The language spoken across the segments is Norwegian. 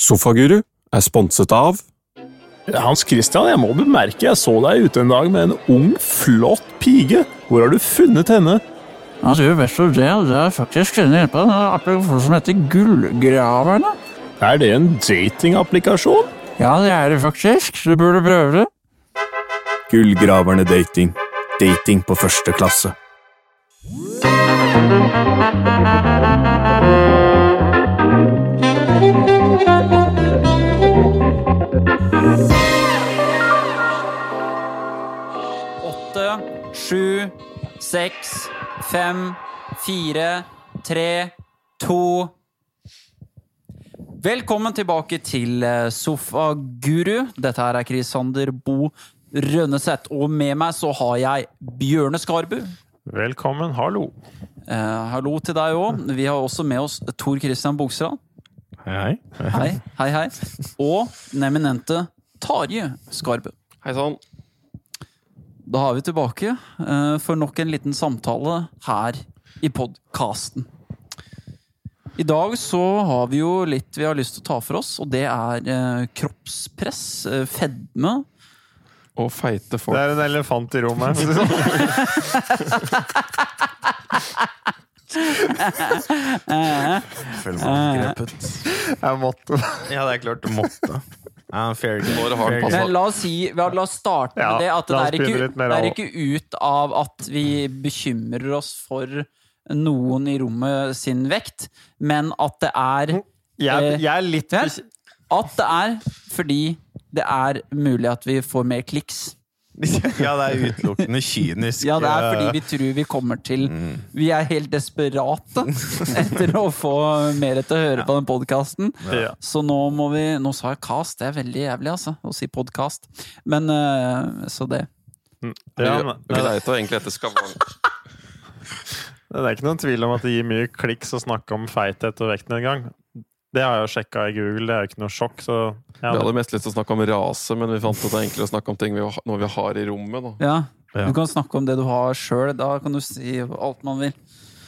Sofaguru er sponset av Hans Christian, jeg må bemerke jeg så deg ute en dag med en ung, flott pige. Hvor har du funnet henne? Ja, du, Altså, vet du det, det er faktisk inne på en applikasjon som heter Gullgraverne. Er det en datingapplikasjon? Ja, det er det faktisk. Du burde prøve det. Gullgraverne dating. Dating på første klasse. Åtte, sju, seks, fem, fire, tre, to Velkommen tilbake til eh, Sofaguru. Dette her er Chris Sander Bo Rønneseth. Og med meg så har jeg Bjørne Skarbu. Velkommen, hallo. Eh, hallo til deg òg. Vi har også med oss Tor Christian Bogstrand. Hei. Hei, hei, hei. Og den eminente Tarje Skarbu. Hei sann. Da er vi tilbake eh, for nok en liten samtale her i podkasten. I dag så har vi jo litt vi har lyst til å ta for oss, og det er eh, kroppspress, eh, fedme. Og feite folk. Det er en elefant i rommet. for å si det sånn. Føler Eh. meg grepet. Jeg måtte. Ja, det er klart du måtte. Ja, fair game. Når har Fair den game. Men la oss, si, ja, la oss starte Altså- med Ja, det. At det la oss er, begynne ikke, litt mer det er av- ikke ut av at vi bekymrer oss for noen i rommet sin vekt, men at det er Mm. Eh, Jeg, jeg er litt Vel, bekym- At det er fordi det er mulig at vi får mer kliks. Ja, det er utelukkende kynisk. eh, Ja, det er fordi vi tror vi kommer til Vi er helt desperate etter å få mer til å høre på den podkasten. Ja. Så nå må vi Nå sa jeg cast, det er veldig jævlig, altså, å si podkast. Men eh, så det. ja, Vi- men- Vi leita egentlig etter skavank. Det er ikke noen tvil om at det gir mye klikks å snakke om feithet og vektnedgang. Det har jeg jo sjekka i Google, det er jo ikke noe sjokk, så Vi ja, hadde mest lyst til å snakke om rase, men vi fant at det er enklere å snakke om ting vi, har- noe vi har i rommet. Da. Ja. Ja. Du kan snakke om det du har sjøl. Da kan du si alt man vil.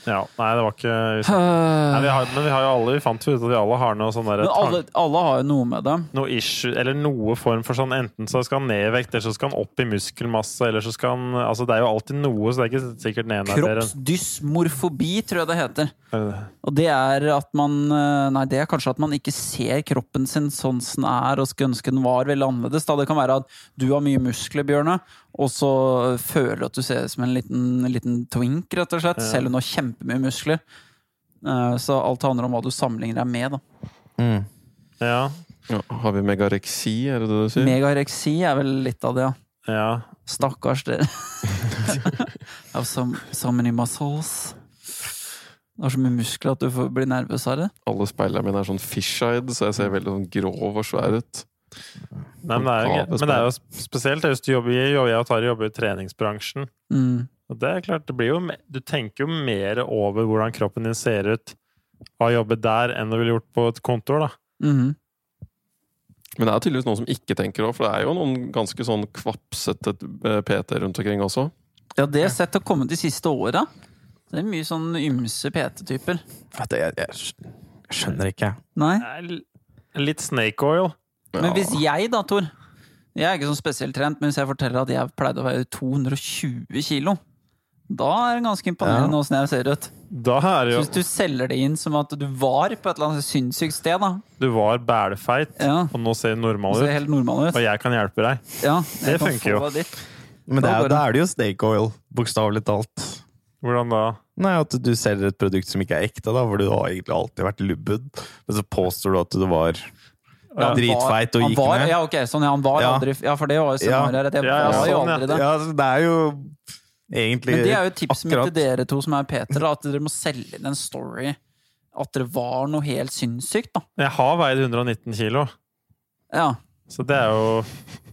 ja. Nei, det var ikke Nei, Eh, vi har, men vi har jo alle, vi fant jo ut at vi alle har noe sånn der Men alle, tank- alle har jo noe med det. noe issue, eller noe form for sånn Enten så skal han ned i vekt, eller så skal han opp i muskelmasse, eller så skal han Altså, det er jo alltid noe, så det er ikke sikkert den ene er bedre Kroppsdysmorfobi, tror jeg det heter. enn Og det er at man eh, Nei, det er kanskje at man ikke ser kroppen sin sånn som den er, og skulle ønske den var veldig annerledes. Da. Det kan være at du har mye muskler, Bjørne, og så føler du at du ser ut som en liten, liten twink, rett og slett. Selv om du har kjempemye muskler. Eh, Så alt handler om hva du sammenligner deg med. Da. mm. Ja. Ja, har vi megareksi, er det det du sier? Megareksi er vel litt av det, ja. Ja. Stakkars dere. I have so, so many muscles. Du har så mye muskler at du får bli nervøs av det. Alle speilene mine er sånn fish-eyed, så jeg ser veldig sånn grov og svær ut. Nei, men, det er jo, men det er jo spesielt hvis du jobber i jobber- Jeg og Tari jobber i treningsbransjen. Mm. Og det er klart, det blir jo, me- du tenker jo mer over hvordan kroppen din ser ut av å jobbe der, enn du ville gjort på et kontor. da. Mhm. Men det er tydeligvis noen som ikke tenker over, for det er jo noen ganske sånn kvapsete eh, PT rundt omkring også. Ja, det har jeg sett å komme de siste åra. Det er mye sånn ymse PT-typer. Vet du, Jeg, jeg skj- jeg skjønner ikke. Nei. Det er l- litt snake oil. Men hvis jeg da, Tor Jeg er ikke sånn spesielt trent, men hvis jeg forteller at jeg pleide å være 220 kilo, da er det ganske imponerende åssen jeg ser ut. Da er det Så jo hvis du selger det inn som at du var på et eller annet sinnssykt sted, da, Du var bælfeit, Ja. og nå ser du og normal ser ut. helt normal Og ut jeg kan hjelpe deg. ja, det jeg kan få funker jo. deg dit. Men det Da går er, det. da er det jo snake oil, bokstavelig talt. Hvordan da? Nei, At du selger et produkt som ikke er ekte, da, hvor du har egentlig alltid vært lubbed, men så påstår du at du var Ja, han dritfeit var- og han gikk var, ned. Ja, ok, sånn, ja, han var Ja. aldri Ja, for det var jo scenarioet at jeg Ja, ja, var jo sånn, ja. aldri det. Ja, så det er jo egentlig Men det er jo et tips mitt akkurat- til dere to som er Peter, da, at dere må selge inn en story at dere var noe helt sinnssykt, da. Jeg har veid 119 kilo, Ja, så det er jo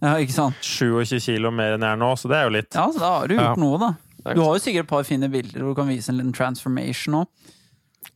ja ikke sant? 27 kilo mer enn jeg er nå, så det er jo litt. Ja, så da har du gjort Ja. noe, da. Du har jo sikkert et par fine bilder hvor du kan vise en liten transformation òg.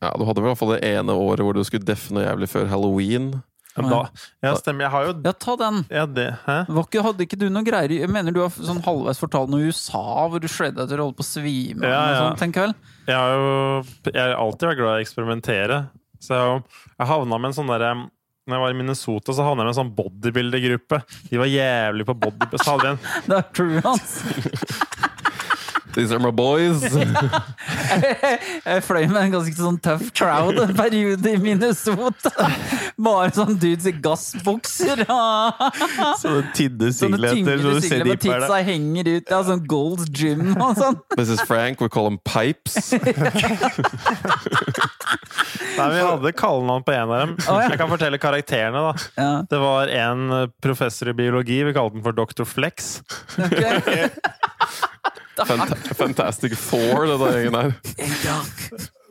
Ja, Du hadde vel i hvert fall det ene året hvor du skulle deffe noe jævlig før halloween. Men da, ja, stemmer. Jeg har jo Ja, ta den. ja, det, Hæ? Var ikke, hadde ikke du noe greier i- Jeg mener du har sånn halvveis fortalt noe i USA hvor du shredda til å holde på å svime av Ja, og ja. sånn, tenker jeg vel. Jeg har jo jeg har alltid vært glad i å eksperimentere. Så jeg, har jo- jeg havna med en sånn derre Når jeg var i Minnesota, så havna jeg med en sånn bodybuildergruppe. De var jævlig på bodybuilding. Så hadde vi en Det er true, hans. These are my boys! Jeg fløy med en ganske sånn tøff crowd en periode i Minnesota. Bare sånn dudes i gassbukser. og Sånne tynne Sånne singleter så tyngre du ser singler med de på titsa henger ut. Ja, sånn Gold's Gym og sånn. This is Frank, we call him Pipes. Nei, vi hadde kallenavn på en av dem. ja. Jeg kan fortelle karakterene, da. Ja, Det var en eh, professor i biologi. Vi kalte den for Dr. Flex. ok. Fant Fantastic Four, det der gjengen her. Ja.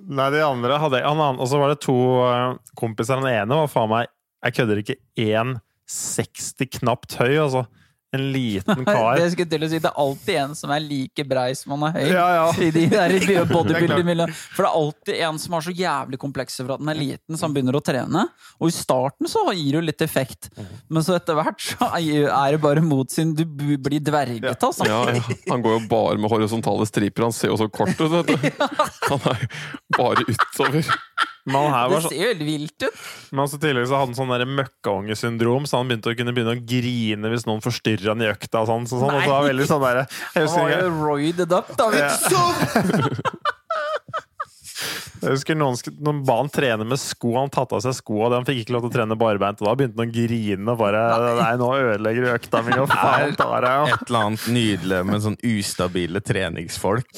Nei, de andre hadde han, han, Og så var det to eh, kompiser. Den ene var faen meg Jeg kødder ikke 1,60 knapt høy, altså. En liten Det kar. jeg skulle til å si, det er alltid en som er like brei som han er høy. Ja, ja. I de der bodybuildermiljøene. For det er alltid en som har så jævlig komplekser for at den er liten, så han begynner å trene. Og i starten så gir det jo litt effekt, men så etter hvert så er det bare mot sin Du blir dvergete, altså. Ja, ja. Han går jo bare med horisontale striper. Han ser jo så kort ut, vet du. Han er bare utover. Men han her Det var så, ser jo helt vilt ut. men også tidligere så hadde han sånn der møkkaungesyndrom, så han begynte å kunne begynne å grine hvis noen forstyrra han i økta. Og sånn, så sånn, og så var han veldig sånn der, jeg Han var husker, jo roided up, da. vet du. Jeg husker noen, sk- noen ba han trene med sko, han tatt av seg skoa, og han fikk ikke lov til å trene barbeint, og da begynte han å grine og bare Nei, nå ødelegger du økta mi, og faen tar jeg jo. et eller annet nydelig med sånn ustabile treningsfolk.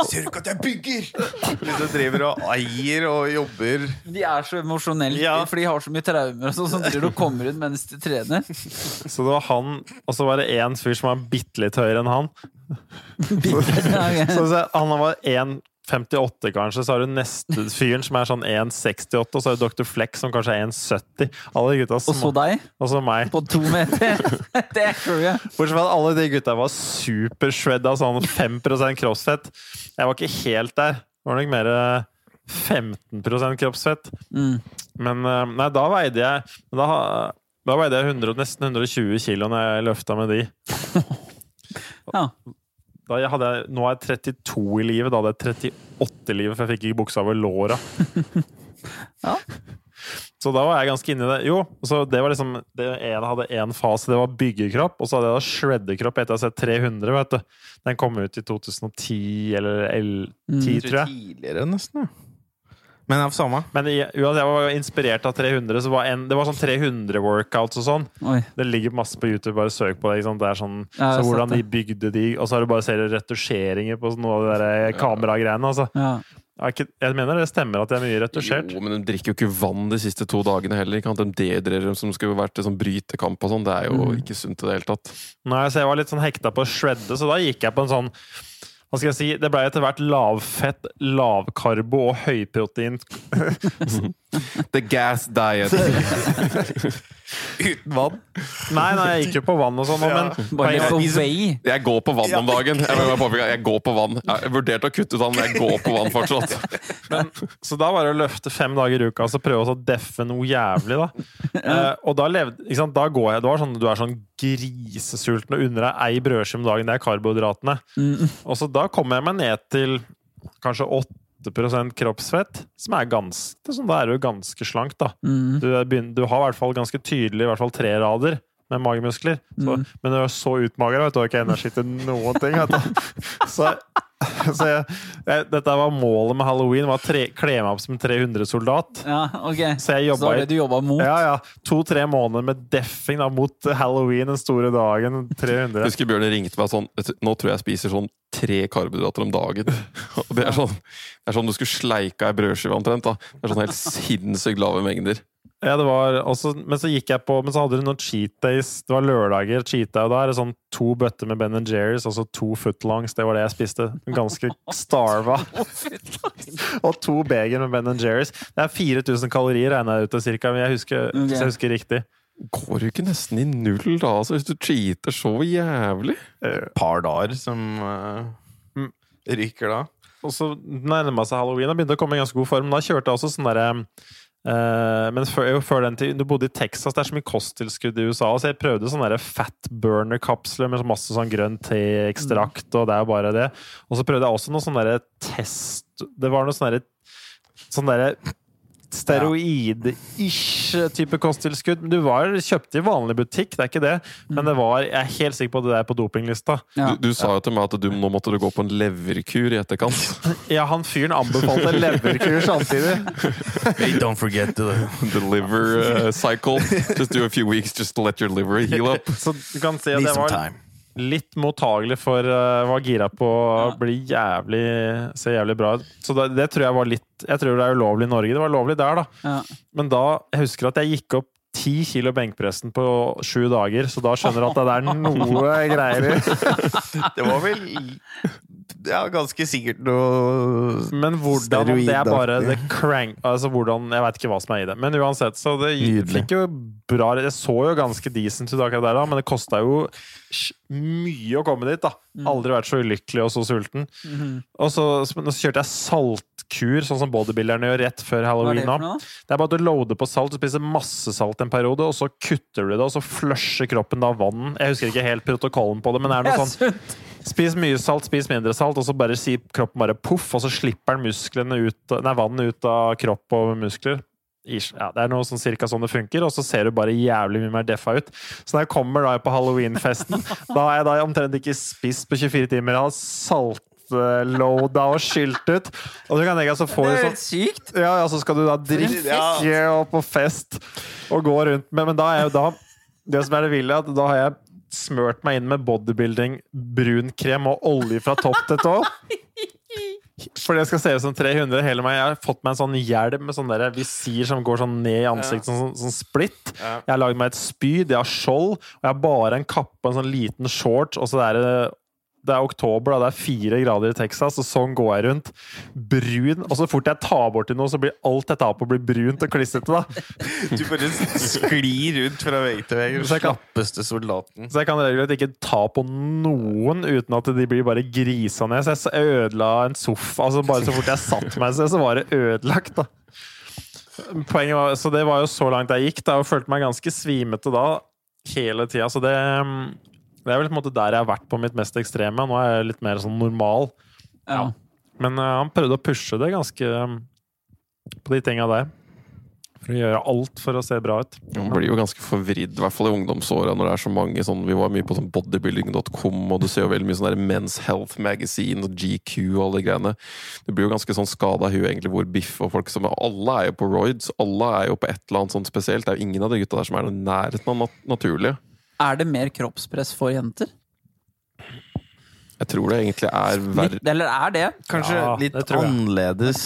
Ser du ikke at jeg bygger?! Hvis du driver og eier og jobber De er så emosjonelle, Ja. for de har så mye traumer og sånn, som driver og kommer ut mens de trener. Så det var han, og så var det én fyr som var bitte litt høyere enn han. Så Ja, ok. hvis jeg- han var 1,58 kanskje, så har du neste fyren som er sånn 1,68, og så har du Dr. Flex som kanskje er 1,70. Alle de gutta Og så sma- deg, Og så meg. på to meter. Det er crew, ja. Bortsett fra at alle de gutta var supershredda, sånn 5 kroppsfett. Jeg var ikke helt der. Det var nok mer eh, 15 kroppsfett. Mm. Men eh, nei, da veide jeg Da, ha- da veide jeg 100, og- nesten 120 kilo når jeg løfta med de. Ja. Da jeg hadde jeg, nå er jeg 32 i livet. Da hadde jeg 38 i livet, for jeg fikk ikke buksa over låra. Ja. Så da var jeg ganske inni det. Jo, så det var liksom Det ene hadde én fase, det var byggekropp. Og så hadde jeg da shredderkropp etter å ha sett 300, vet du. Den kom ut i 2010 eller 11, 10, Mm. tror jeg. tidligere, nesten. Ja. Men av samme. Men i- uansett, jeg var inspirert av 300, så var en, det var sånn 300-workouts og sånn. Oi. Det ligger masse på YouTube, bare søk på det. Ikke sant? Det er sånn, Ja, jeg så har hvordan sett de det. bygde de, og så har du bare ser retusjeringer på sånn noe av de der eh, kameragreiene. Altså. Ja. Jeg, er ikke- jeg mener det stemmer at det er mye retusjert. Jo, men de drikker jo ikke vann de siste to dagene heller. Ikke annet enn dehydrerer dem som skulle vært til sånn brytekamp og sånn. Det er jo ikke sunt i det hele tatt. Nei, så jeg var litt sånn hekta på å shredde, så da gikk jeg på en sånn hva skal jeg si, Det ble etter hvert lavfett, lavkarbo og høyprotein. The gas diet. Uten vann. Nei, nei, jeg gikk jo på vann og sånn, men Bare litt poenget- på vei. Jeg går på vann om dagen. Jeg, vil bare påpeke at jeg går på vann. Jeg vurderte å kutte ut vann, men jeg går på vann fortsatt. Så da var det å løfte fem dager i uka og så prøve å så deffe noe jævlig, da. Eh, og da levde ikke sant? Da går jeg, det var sånn, Du er sånn grisesulten og unner deg ei brødskive om dagen. Det er karbohydratene. Og så da kommer jeg meg ned til kanskje 8 kroppsfett, som er ganske sånn, Da er du ganske slank, da. Mm. Du, er begyn- du har i hvert fall ganske tydelig i hvert fall tre rader med magemuskler. Så, Men når jeg er så utmagra, vet du, har jeg ikke energi til noen ting. Vet du. Så, så jeg, jeg, dette var målet med halloween, var å tre- kle meg opp som en 300-soldat. Ja, ok. Så jeg Så jobba var det i du jobba mot. ja, ja, to-tre måneder med deffing da, mot halloween, den store dagen. 300. Jeg husker Bjørn ringte meg sånn «Vet du, Nå tror jeg jeg spiser sånn tre karbohydrater om dagen. Og det er sånn, det er sånn du skulle sleika ei brødskive omtrent. da. Det er sånn helt sinnssykt lave mengder. Ja, det var også, men så gikk jeg på Men så hadde du noen cheat days. Det var lørdager. cheat day, og Da er det sånn to bøtter med Ben Jerry's, altså to footlongs. Det var det jeg spiste. Ganske starva. og to beger med Ben Jerry's. Det er 4000 kalorier, regna jeg ut til cirka, men jeg husker, Ok. hvis jeg husker riktig. Går du ikke nesten i null da, altså, hvis du cheater så jævlig? Par dager som eh, Mm. ryker da. Og så nærma seg halloween og begynte å komme i ganske god form. Da kjørte jeg også sånn derre eh, men før, jo, før den tid, du bodde i Texas, det er så mye kosttilskudd i USA. Så jeg prøvde sånne der fat burner-kapsler med så masse sånn grønn teekstrakt. Og det er jo bare det. sånn sånn Og så prøvde jeg også noen sånne der test Det var noe sånne der, sånne der litt steroid-ish type kosttilskudd. Men Du var, kjøpte i vanlig butikk, det er ikke det. Men det var, jeg er helt sikker på at det der på dopinglista. Ja. Du, du sa jo til meg at du, nå måtte du gå på en leverkur i etterkant. Ja, han fyren anbefalte leverkur samtidig. Hey, don't forget the The liver uh, cycle. Just do a few weeks, just to let your liver heal up. Så du kan se at Need det some var time. litt mottagelig for uh, var gira på å bli jævlig se jævlig bra ut. Så det, det tror jeg var litt Jeg tror det er ulovlig i Norge. Det var lovlig der, da. Ja. Men da jeg husker at jeg gikk opp ti kilo benkpressen på sju dager, så da skjønner du at det er noe greier i. Det var vel Ja, ganske sikkert noe Men hvordan Det er bare Steroidaktig. the crank Altså hvordan Jeg veit ikke hva som er i det. Men uansett, så det gikk, Nydelig. fikk jo bra Det så jo ganske decent ut akkurat der, da, men det kosta jo sj- mye å komme dit, da. Mm. Aldri vært så ulykkelig og så sulten. Mhm. Og så, så kjørte jeg saltkur, sånn som bodybuilderne gjør rett før Hva er halloween. det for nå. noe, da? Det er bare at du loader på salt, du spiser masse salt en periode, og så kutter du det, og så flusher kroppen da vann. Jeg husker ikke helt protokollen på det, men det er noe sånn Spis mye salt, spis mindre salt, og så bare sier kroppen bare poff, og så slipper den musklene ut, nei, vannet ut av kropp og muskler. Ish. Ja, det er noe sånn cirka sånn det funker, og så ser du bare jævlig mye mer deffa ut. Så når jeg kommer da på halloweenfesten, da har jeg da omtrent ikke spist på 24 timer. Jeg har saltloada og skylt ut. Og du kan tenke deg så får Det du er sånn helt sykt! ja, ja, så skal du da drikke og på fest og gå rundt med Men da er jo da Det som er det ville, er at da har jeg smørt meg inn med bodybuilding, brun krem og olje fra topp til tå. For det skal se ut som 300. Hele meg. Jeg har fått meg en sånn hjelm med sånn der visir som går sånn ned i ansiktet, sånn, sånn, sånn splitt. Jeg har lagd meg et spyd, jeg har skjold, og jeg har bare en kappe og en sånn liten shorts, og så er det det er oktober, da. Det er fire grader i Texas, og sånn går jeg rundt. Brun. Og så fort jeg tar borti noe, så blir alt jeg tar på, blir brunt og klissete. da. Du bare sklir rundt fra vegg til vegg. Så jeg kan- Slappeste soldaten. Så jeg kan rett og slett ikke ta på noen uten at de blir bare grisa ned. Så jeg s- ødela en sofa. altså Bare så fort jeg satt meg ned, så var det ødelagt, da. Poenget var, Så det var jo så langt jeg gikk, da, og følte meg ganske svimete da hele tida. Så det, mm, det er vel på en måte der jeg har vært på mitt mest ekstreme. Nå er jeg litt mer sånn normal. Ja. Men eh, han prøvde å pushe det ganske eh, på de tinga der. For å gjøre alt for å se bra ut. Man blir jo ganske forvridd, i hvert fall i ungdomsåra, når det er så mange sånn Vi var mye på sånn bodybuilding.com, og du ser jo veldig mye sånn der Men's Health Magazine og GQ og alle de greiene. Du blir jo ganske sånn skada i huet, egentlig, hvor biff og folk som Alle er jo på roids, alle er jo på et eller annet sånt spesielt. Det er jo ingen av de gutta der som er i nærheten av nat naturlige. Er det mer kroppspress for jenter? Jeg tror det egentlig er Litt, verre eller er det? Kanskje Ja, litt det tror jeg. annerledes.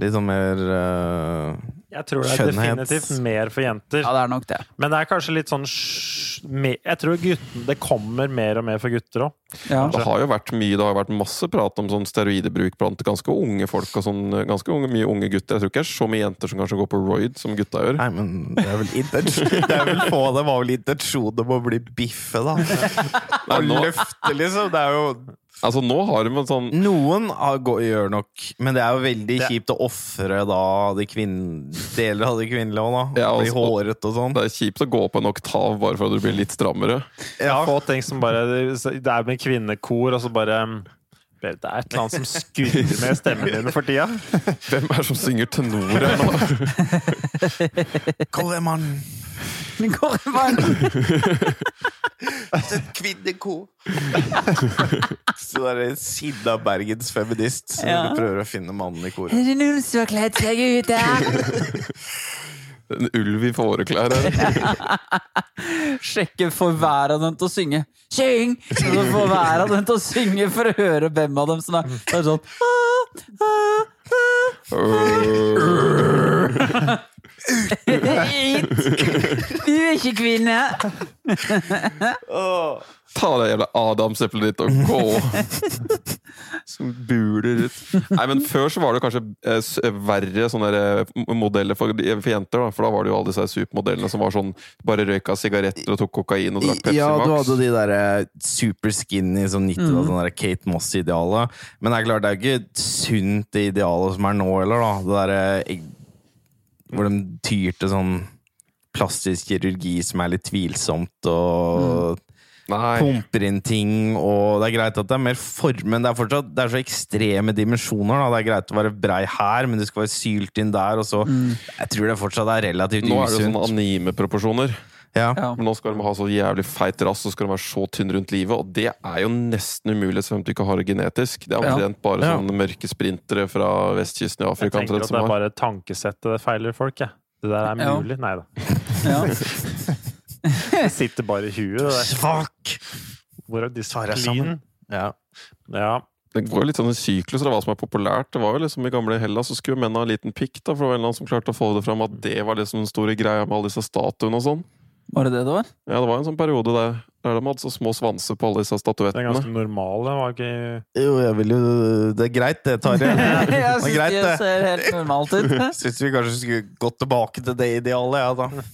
Litt sånn mer eh, Jeg tror det er Skjønnhet. definitivt mer for jenter. Ja, det er nok det. Men det er kanskje litt sånn sj- me- Jeg tror gutten, det kommer mer og mer for gutter òg. Ja. Det har jo vært mye, det har vært masse prat om sånn steroidebruk blant ganske unge folk. og sånn, ganske unge, Mye unge gutter. Jeg tror ikke det er så mye jenter som kanskje går på roid som gutta gjør. Nei, men det er vel intensjon Det er vel få av dem har vel intensjon om å bli biffe, da. Nei, Og nå, løfte, liksom. Det er jo altså nå har de en sånn Noen har, går, gjør nok, men det er jo veldig kjipt å ofre da de kvinn- deler av det kvinnelige òg, da. Ja, altså, og- Bli håret og sånn. Det er kjipt å gå på en oktav bare for at du blir litt strammere. Ja. Få ting som bare Det er med kvinnekor, og så bare mm, det er et eller annet som skurrer med stemmen din for tida. Hvem er det som synger tenor her nå? Kall det mann. Men går det bare- Kvinneko. Så det er en sinna bergensfeminist som Ja. prøver å finne mannen i koret. Er det noen som har kledd seg ut der? En ulv i fåreklær her. Sjekke for hver av dem til å synge. Syng! Og så får hver av dem til å synge for å høre hvem av dem som er Det er sånn ah, ah, ah. ah, Hit. Du er ikke kvinne! Ta det jævla adamseplet ditt og gå! Som buler ut. Nei, men Før så var det kanskje eh, s- verre sånne der, eh, modeller for, for jenter. da For da var det jo alle disse her supermodellene som var sånn bare røyka sigaretter og tok kokain og drakk Pepsi Ja, du Max. hadde de der eh, super skinny som 90 da, sånn der Kate Moss-idealet. Men det er klart, det er jo ikke sunt, det idealet som er nå heller, da. Det derre eh, Hvor de tyr til sånn plastisk kirurgi som er litt tvilsomt, og Nei. pumper inn ting, og det er greit at det er mer form, men det er fortsatt det er så ekstreme dimensjoner. Da. Det er greit å være brei her, men du skal være sylt inn der, og så Jeg tror det fortsatt er relativt Nå er det jo sånn usunt. anime-proporsjoner. Ja. Ja. Men nå skal de ha så jævlig feit rass, og skal de være så tynn rundt livet. Og det er jo nesten umulig, selv om du ikke har det genetisk. Det er Ja. omtrent bare Ja. sånne mørke sprintere fra vestkysten i Jeg Afrika. tenker omtrent, at som det har- er bare tankesettet det feiler folk, jeg. Det der er Ja. mulig. Nei da. Ja. Det sitter bare i huet, det der. Svak! Hvorav jeg disiplin sammen. Ja. Ja. Det går jo litt sånn i sykluser av hva som er populært. Det var jo liksom I gamle Hellas så skulle menn ha en liten pikk, da, for det var en eller annen som klarte å få det fram at det var liksom den store greia med alle disse statuene og sånn. Var det det det var? Ja, det var en sånn periode der, der de hadde så små svanser på alle disse Det statuettene. er ganske normal. Det var ikke Jo, jeg vil jo Det er greit, det, Tarjei. Jeg synes greit, det det. ser helt normalt ut. Syns vi kanskje skulle gått tilbake til det idealet, ja da.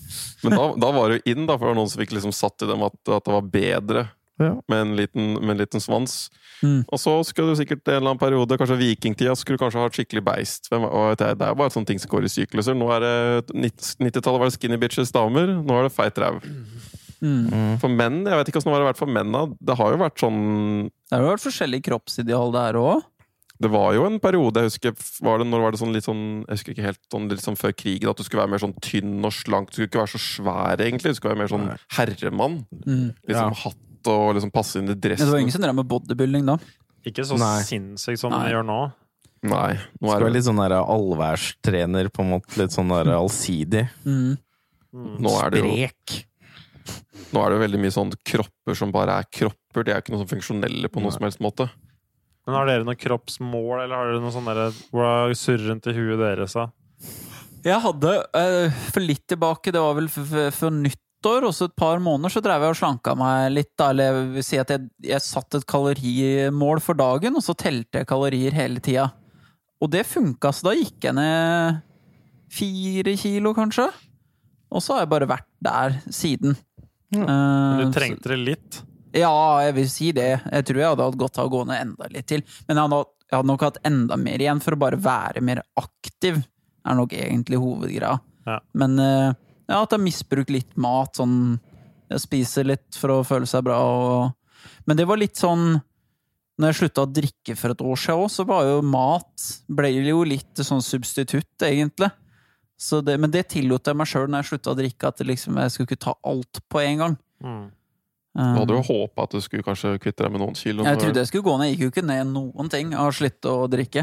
Men da, da var det jo inn, da, for det var noen som fikk liksom satt i dem at, at det var bedre Ja. med, en liten, med en liten svans. Mm. Og så skulle du sikkert en eller annen periode, kanskje vikingtida, skulle du kanskje ha et skikkelig beist. Hvem, og det, er- det er bare sånne ting som går i sykluser. Nå er det 90-tallet var det skinny bitches damer, nå er det feit ræv. Mm. For menn, jeg vet ikke åssen det har vært for menna. Det har jo vært sånn Det har jo vært forskjellig kroppsideal der òg. Det var jo en periode, jeg husker var det, Når var det sånn litt sånn Jeg husker ikke helt sånn litt sånn før krigen, at du skulle være mer sånn tynn og slank. Du skulle ikke være så svær, egentlig. Du skulle være mer sånn herremann. Mm. Liksom hatt og liksom passe inn i Men Det var dressen. ingen som drev med bodybuilding da. Ikke så Nei. sinnssykt som Nei. de gjør nå. Nei, nå Skal er være det, litt sånn der allværstrener, på en måte. Litt sånn der allsidig. Mm. nå er det jo Sprek. nå er det jo veldig mye sånn kropper som bare er kropper. De er ikke noe sånn funksjonelle på noen som helst måte. Men har dere noe kroppsmål, eller har dere noe sånn derre Hvor det surrer rundt i huet deres, da? Jeg hadde eh, for litt tilbake, det var vel f- f- for nyttår, også et par måneder, så drev jeg og slanka meg litt. Da, eller jeg vil si at jeg, jeg satte et kalorimål for dagen, og så telte jeg kalorier hele tida. Og det funka, så da gikk jeg ned fire kilo, kanskje. Og så har jeg bare vært der siden. Eh, Mm. Men du så- trengte det litt. Ja, jeg vil si det. Jeg tror jeg hadde hatt godt av å gå ned enda litt til. Men jeg hadde, jeg hadde nok hatt enda mer igjen for å bare være mer aktiv. er nok egentlig hovedgreia. Ja. Men eh, ja, at jeg misbruker litt mat, sånn jeg spiser litt for å føle seg bra og Men det var litt sånn når jeg slutta å drikke for et år siden òg, så var jo mat ble jo litt sånn substitutt, egentlig. Så det, men det tillot jeg meg sjøl når jeg slutta å drikke, at det liksom, jeg skulle ikke ta alt på en gang. Eh, Mm. Du hadde jo håpa at du skulle kanskje kvitte deg med noen kilo. Mm. Jeg trodde jeg skulle gå ned, jeg gikk jo ikke ned noen ting. Jeg har slitt å drikke.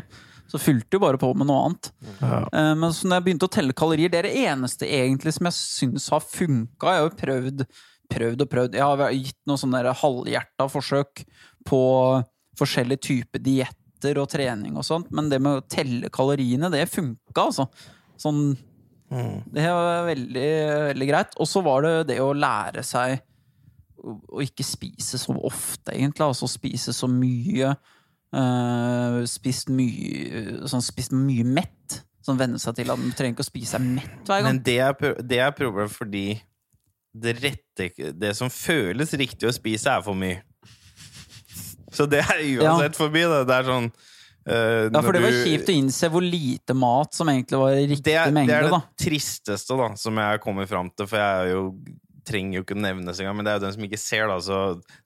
Så fylte jo bare på med noe annet. Eh, Men så når jeg begynte å telle kalorier, det er det eneste egentlig som jeg syns har funka. Jeg har jo prøvd, prøvd og prøvd. Jeg har gitt noen sånne der halvhjerta forsøk på forskjellige typer dietter og trening og sånt, men det med å telle kaloriene, det funka, altså. Sånn Mm. Det var veldig, veldig greit. Og så var det det å lære seg å å ikke spise så ofte, egentlig. Altså spise så mye. eh, spist mye Sånn spist mye mett. Sånn venne seg til at man trenger ikke å spise seg mett hver gang. Men det er, pro- det er problemet fordi det, rette, det som føles riktig å spise, er for mye. Så det er uansett for mye. Det, det er sånn eh, Ja, for når det var du- kjipt å innse hvor lite mat som egentlig var i riktig det er, mengde, det er det da. tristeste da, som jeg kommer fram til, for jeg er jo, trenger jo ikke nevnes engang, men det er jo den som ikke ser, da, så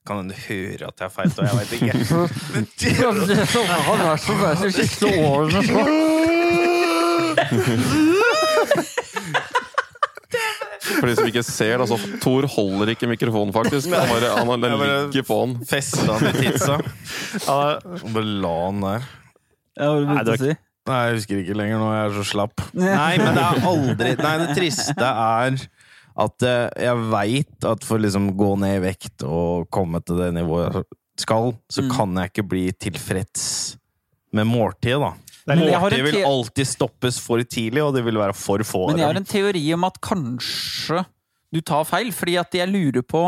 kan den høre at jeg er feit, og jeg veit ikke. Men det- Det sånn. som har vært så bra de siste årene så For de som ikke ser, altså, Thor holder ikke mikrofonen, faktisk. Han, bare, han, han Jeg bare- ligger på den. Festa han i tidsa. Og bare la han der. Ja, hva Nei, var det du begynte det å si? Nei, jeg husker ikke lenger nå, jeg er så slapp. Nei, men det er aldri Nei, det triste er at eh, jeg veit at for liksom å gå ned i vekt og komme til det nivået jeg skal, så Mm. kan jeg ikke bli tilfreds med måltidet, da. Det er Men jeg har en Måltidet vil te- alltid stoppes for tidlig, og det vil være for få av Men jeg har dem. en teori om at kanskje du tar feil, fordi at jeg lurer på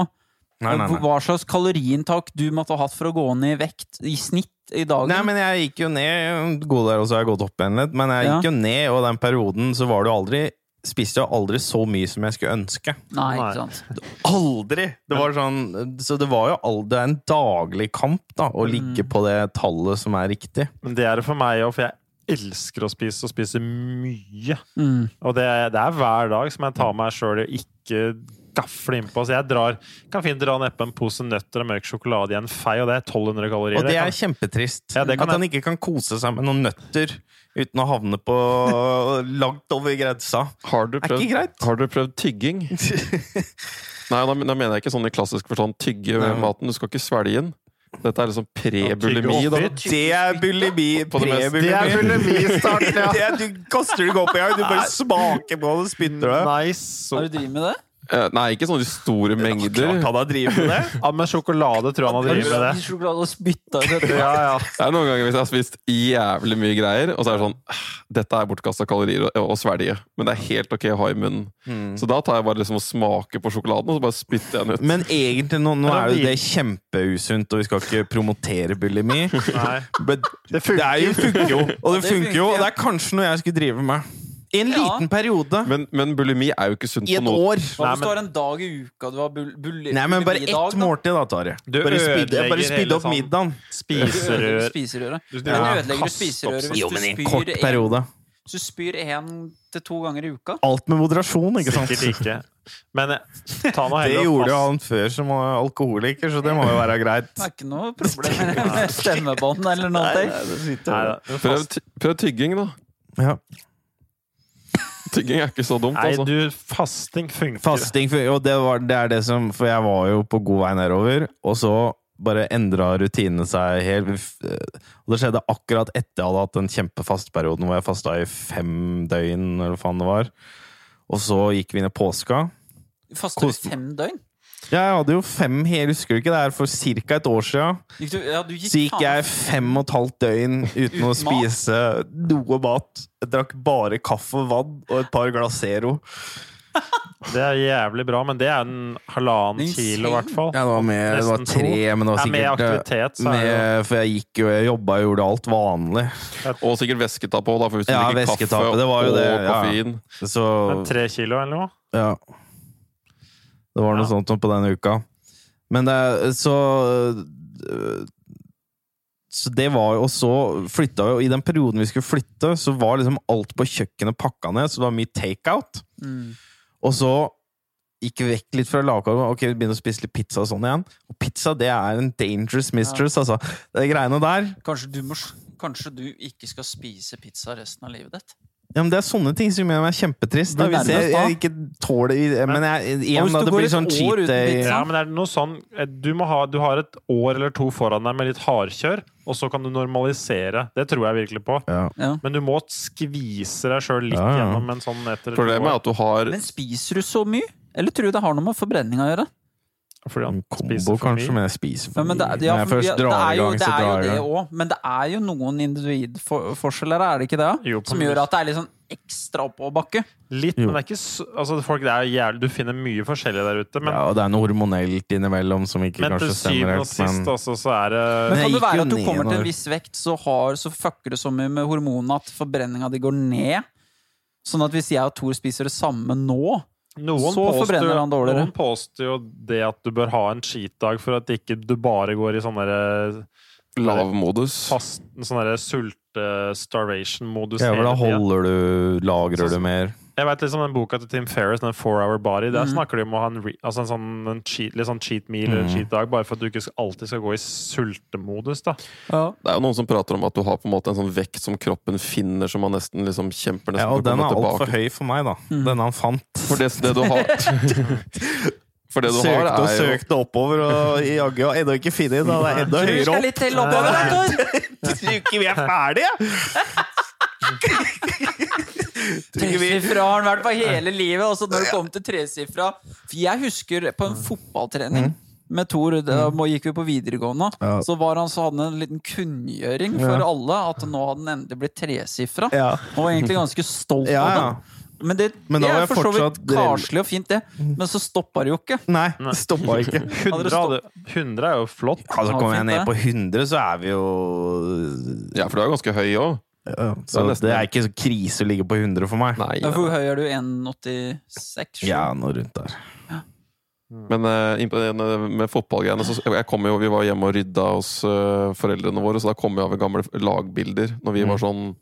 Nei, nei, nei. hva slags kaloriinntak du måtte ha hatt for å gå ned i vekt i snitt i dagen. Nei, men jeg gikk jo ned God der, og så har jeg gått opp igjen litt. Men jeg Ja. gikk jo ned, og den perioden så var det jo aldri Spiste jeg aldri så mye som jeg skulle ønske. Nei, Nei. ikke sant. Aldri! Det var sånn, så det var jo aldri en daglig kamp da, å ligge Mm. på det tallet som er riktig. Men det er det for meg òg, for jeg elsker å spise, og spise mye. Mm. Og det, det er hver dag som jeg tar meg sjøl i å ikke skaffer det innpå. Så jeg drar, kan fint dra nedpå en pose nøtter og mørk sjokolade i en fei, og det er 1200 kalorier. Og det Jeg er kan- kjempetrist. Ja, det kan at han ikke kan kose seg med noen nøtter uten å havne på langt over grensa. Har du Er prøvd, ikke greit. Har du prøvd tygging? Nei, da, da mener jeg ikke sånn i klassisk forstand tygge maten. Du skal ikke svelge den. Dette er liksom pre-bulimi, da. Oppfylt. Det er bulimi. På det meste. Pre-bulimi. Det er bulimistart, ja. Det er- Du kaster det ikke opp engang. Du bare smaker på det og spytter det. Nice. Hva er Så, det du driver med det? Eh, Nei, ikke sånne store mengder. Klart han har drevet med det. ja, men sjokolade tror jeg han har drevet med det. Spist sjokolade og spytta ut etterpå. Ja, ja. Det er noen ganger hvis jeg har spist jævlig mye greier, og så er det sånn «Ah, Dette er bortkasta kalorier å- å svelge, men det er helt ok å ha i munnen. Så da tar jeg bare liksom og smaker på sjokoladen, og så bare spytter jeg den ut. Hmm. Men egentlig, nå, nå er jo det kjempeusunt, og vi skal ikke promotere bulimi. Nei. Men Det funker. Det er jo, funker jo. Og det det funker jo. funker, Og ja. det er kanskje noe jeg skulle drive med. I en Ja. liten periode. Men, men bulimi er jo ikke sunt I på et noe. år. Hva Nei, hvis du har en dag i uka du har bull... bull Nei, men bare ett måltid, da, Tari. Du Bare spidde, ødelegger bare hele spidde opp sånn- middagen. Spiserør. Spiserør. Spiserøret. Du- Men Ja, ødelegger du kast opp spiserøret sånn. hvis du spyr en- periode. hvis du spyr én til to ganger i uka? Alt med moderasjon, ikke sant? Sikkert ikke. Men eh, ta nå Det heller og gjorde pass- han før som alkoholiker, så det må jo være greit. Det er ikke noe problem med stemmebånd eller noe. Neida. Prøv, ty- prøv tygging, da. Ja. Tygging er ikke så dumt, Nei, altså. du, fasting funker. Fasting, for- og det, var, det er det som For jeg var jo på god vei nedover, og så bare endra rutinene seg helt. Vi f- Og det skjedde akkurat etter jeg hadde hatt den kjempefastperioden hvor jeg fasta i fem døgn, eller hva faen det var. Og så gikk vi inn i påska. Faster Kost- du fem døgn? Ja, jeg hadde jo fem hele, husker du ikke? Det er for ca. et år sia. Gikk du, ja, du gikk Så gikk faen- jeg fem og et halvt døgn uten å Uten mat? spise noe mat. Jeg drakk bare kaffe og vann og et par Glacero. Det er jævlig bra, men det er en halvannen Insane. kilo, i hvert fall. Ja, det var med, det var Nesten tre, men det var Ja, med sikkert eh, aktivitet, så er med, For jeg gikk jo, jeg jobba og gjorde alt vanlig. Og sikkert væsketap òg, da, for hvis du Ja, drikker væsketap, kaffe det var jo og det, ja. koffein Så Men tre kilo eller noe? ja. Det var noe Ja. sånt på den uka. Men det, så øh, Så det var jo Og så flytta jo I den perioden vi skulle flytte, så var liksom alt på kjøkkenet pakka ned, så det var mye takeout. Mm. Og så gikk vi vekk litt fra lavkarbo. Ok, vi begynner å spise litt pizza og sånn igjen. Og pizza, det er en dangerous mistress, altså. De greiene der. Kanskje, du må, s- kanskje du ikke skal spise pizza resten av livet ditt? Ja, men det er sånne ting som gjør meg kjempetrist. Da. Blir Hvis jeg, nærmest da. jeg ikke tåler i- Men jeg, Og igjen, hvis da, du det går blir et sånn år cheat uten day. pizza? Ja, men er det noe sånn eh, du, må ha, du har et år eller to foran deg med litt hardkjør, og så kan du normalisere. Det tror jeg virkelig på. Ja. Ja. Men du må skvise deg sjøl litt Ja, ja. gjennom en sånn etter Problemet er at du har Men spiser du så mye? Eller tror du det har noe med forbrenning å gjøre? Fordi han En Kombo, spiser for kanskje, mye. men jeg spiser Ja, for men det, mye. ja, Når jeg først ja, det drar er i jo gang, det, er så jo drar jeg i det gang. også, men det er jo noen individforskjeller, er det ikke det? Jo, på Som en gjør måte. at det er litt sånn ekstra oppoverbakke. Litt, men det er ikke s- altså, folk, det er jævlig, Du finner mye forskjellig der ute, men, Ja, og det er noe hormonelt innimellom som ikke men til kanskje stemmer syvende og helt, sist men også, så er det Men Men kan jeg det gikk jo være at du ned kommer til når- en viss vekt, så, har, så fucker det så mye med hormonene at forbrenninga di går ned? Sånn at hvis jeg og Thor spiser det samme nå Noen Så forbrenner han dårligere. Noen påstår jo det at du bør ha en cheat-dag for at ikke du bare går i sånn derre lav modus. fast sånn derre sulte-starvation-modus ja, for da hele tida. holder du Så- Lagrer du mer? Jeg vet liksom den boka til Tim Ferriss, den 4 Hour Body, Mhm. der snakker de om å ha en, re, altså en sånn en cheat, litt sånn cheat meal eller cheat dag, bare for at du ikke skal- alltid skal gå i sultemodus, da. Det er jo noen som prater om at du har på en måte en sånn vekt som kroppen finner, som man nesten liksom kjemper Ja, nesten og for å den er komme tilbake. altfor høy for meg, da. Den han fant. For det, det du har For det du har, Søkte og er jo søkte oppover, og jaggu har ennå ikke funnet den. Det er Du enda høyere skal opp. litt til oppover der, Thor! Tror ikke vi er ferdige! Tresifra har han vært på hele livet, og så når det kommer til tresifra For jeg husker på Mm. en fotballtrening med Thor, da må- gikk vi på videregående, Ja. så var han så hadde han en liten kunngjøring for alle at nå hadde den endelig blitt tresifra. Ja. Han var egentlig ganske stolt Ja, av ja. den. Men det, Men da det var er jeg for så vidt fortsatt Mm. rel- karslig og fint, det. Men så stoppa det jo ikke. Nei, det stoppa ikke. 100, det stopp- hadde- 100 er jo flott. Altså, Ja, kommer jeg fint, ned det. på 100, så er vi jo Ja, for du er jo ganske høy òg. Så nesten- det er ikke så krise å ligge på 100 for meg. Nei. Hvor høy er du? 1,86? Ja, noe rundt der. Men eh, imponerende med fotballgreiene så jeg kom jo, Vi var hjemme og rydda hos eh, foreldrene våre, så da kom jeg over gamle lagbilder når vi var sånn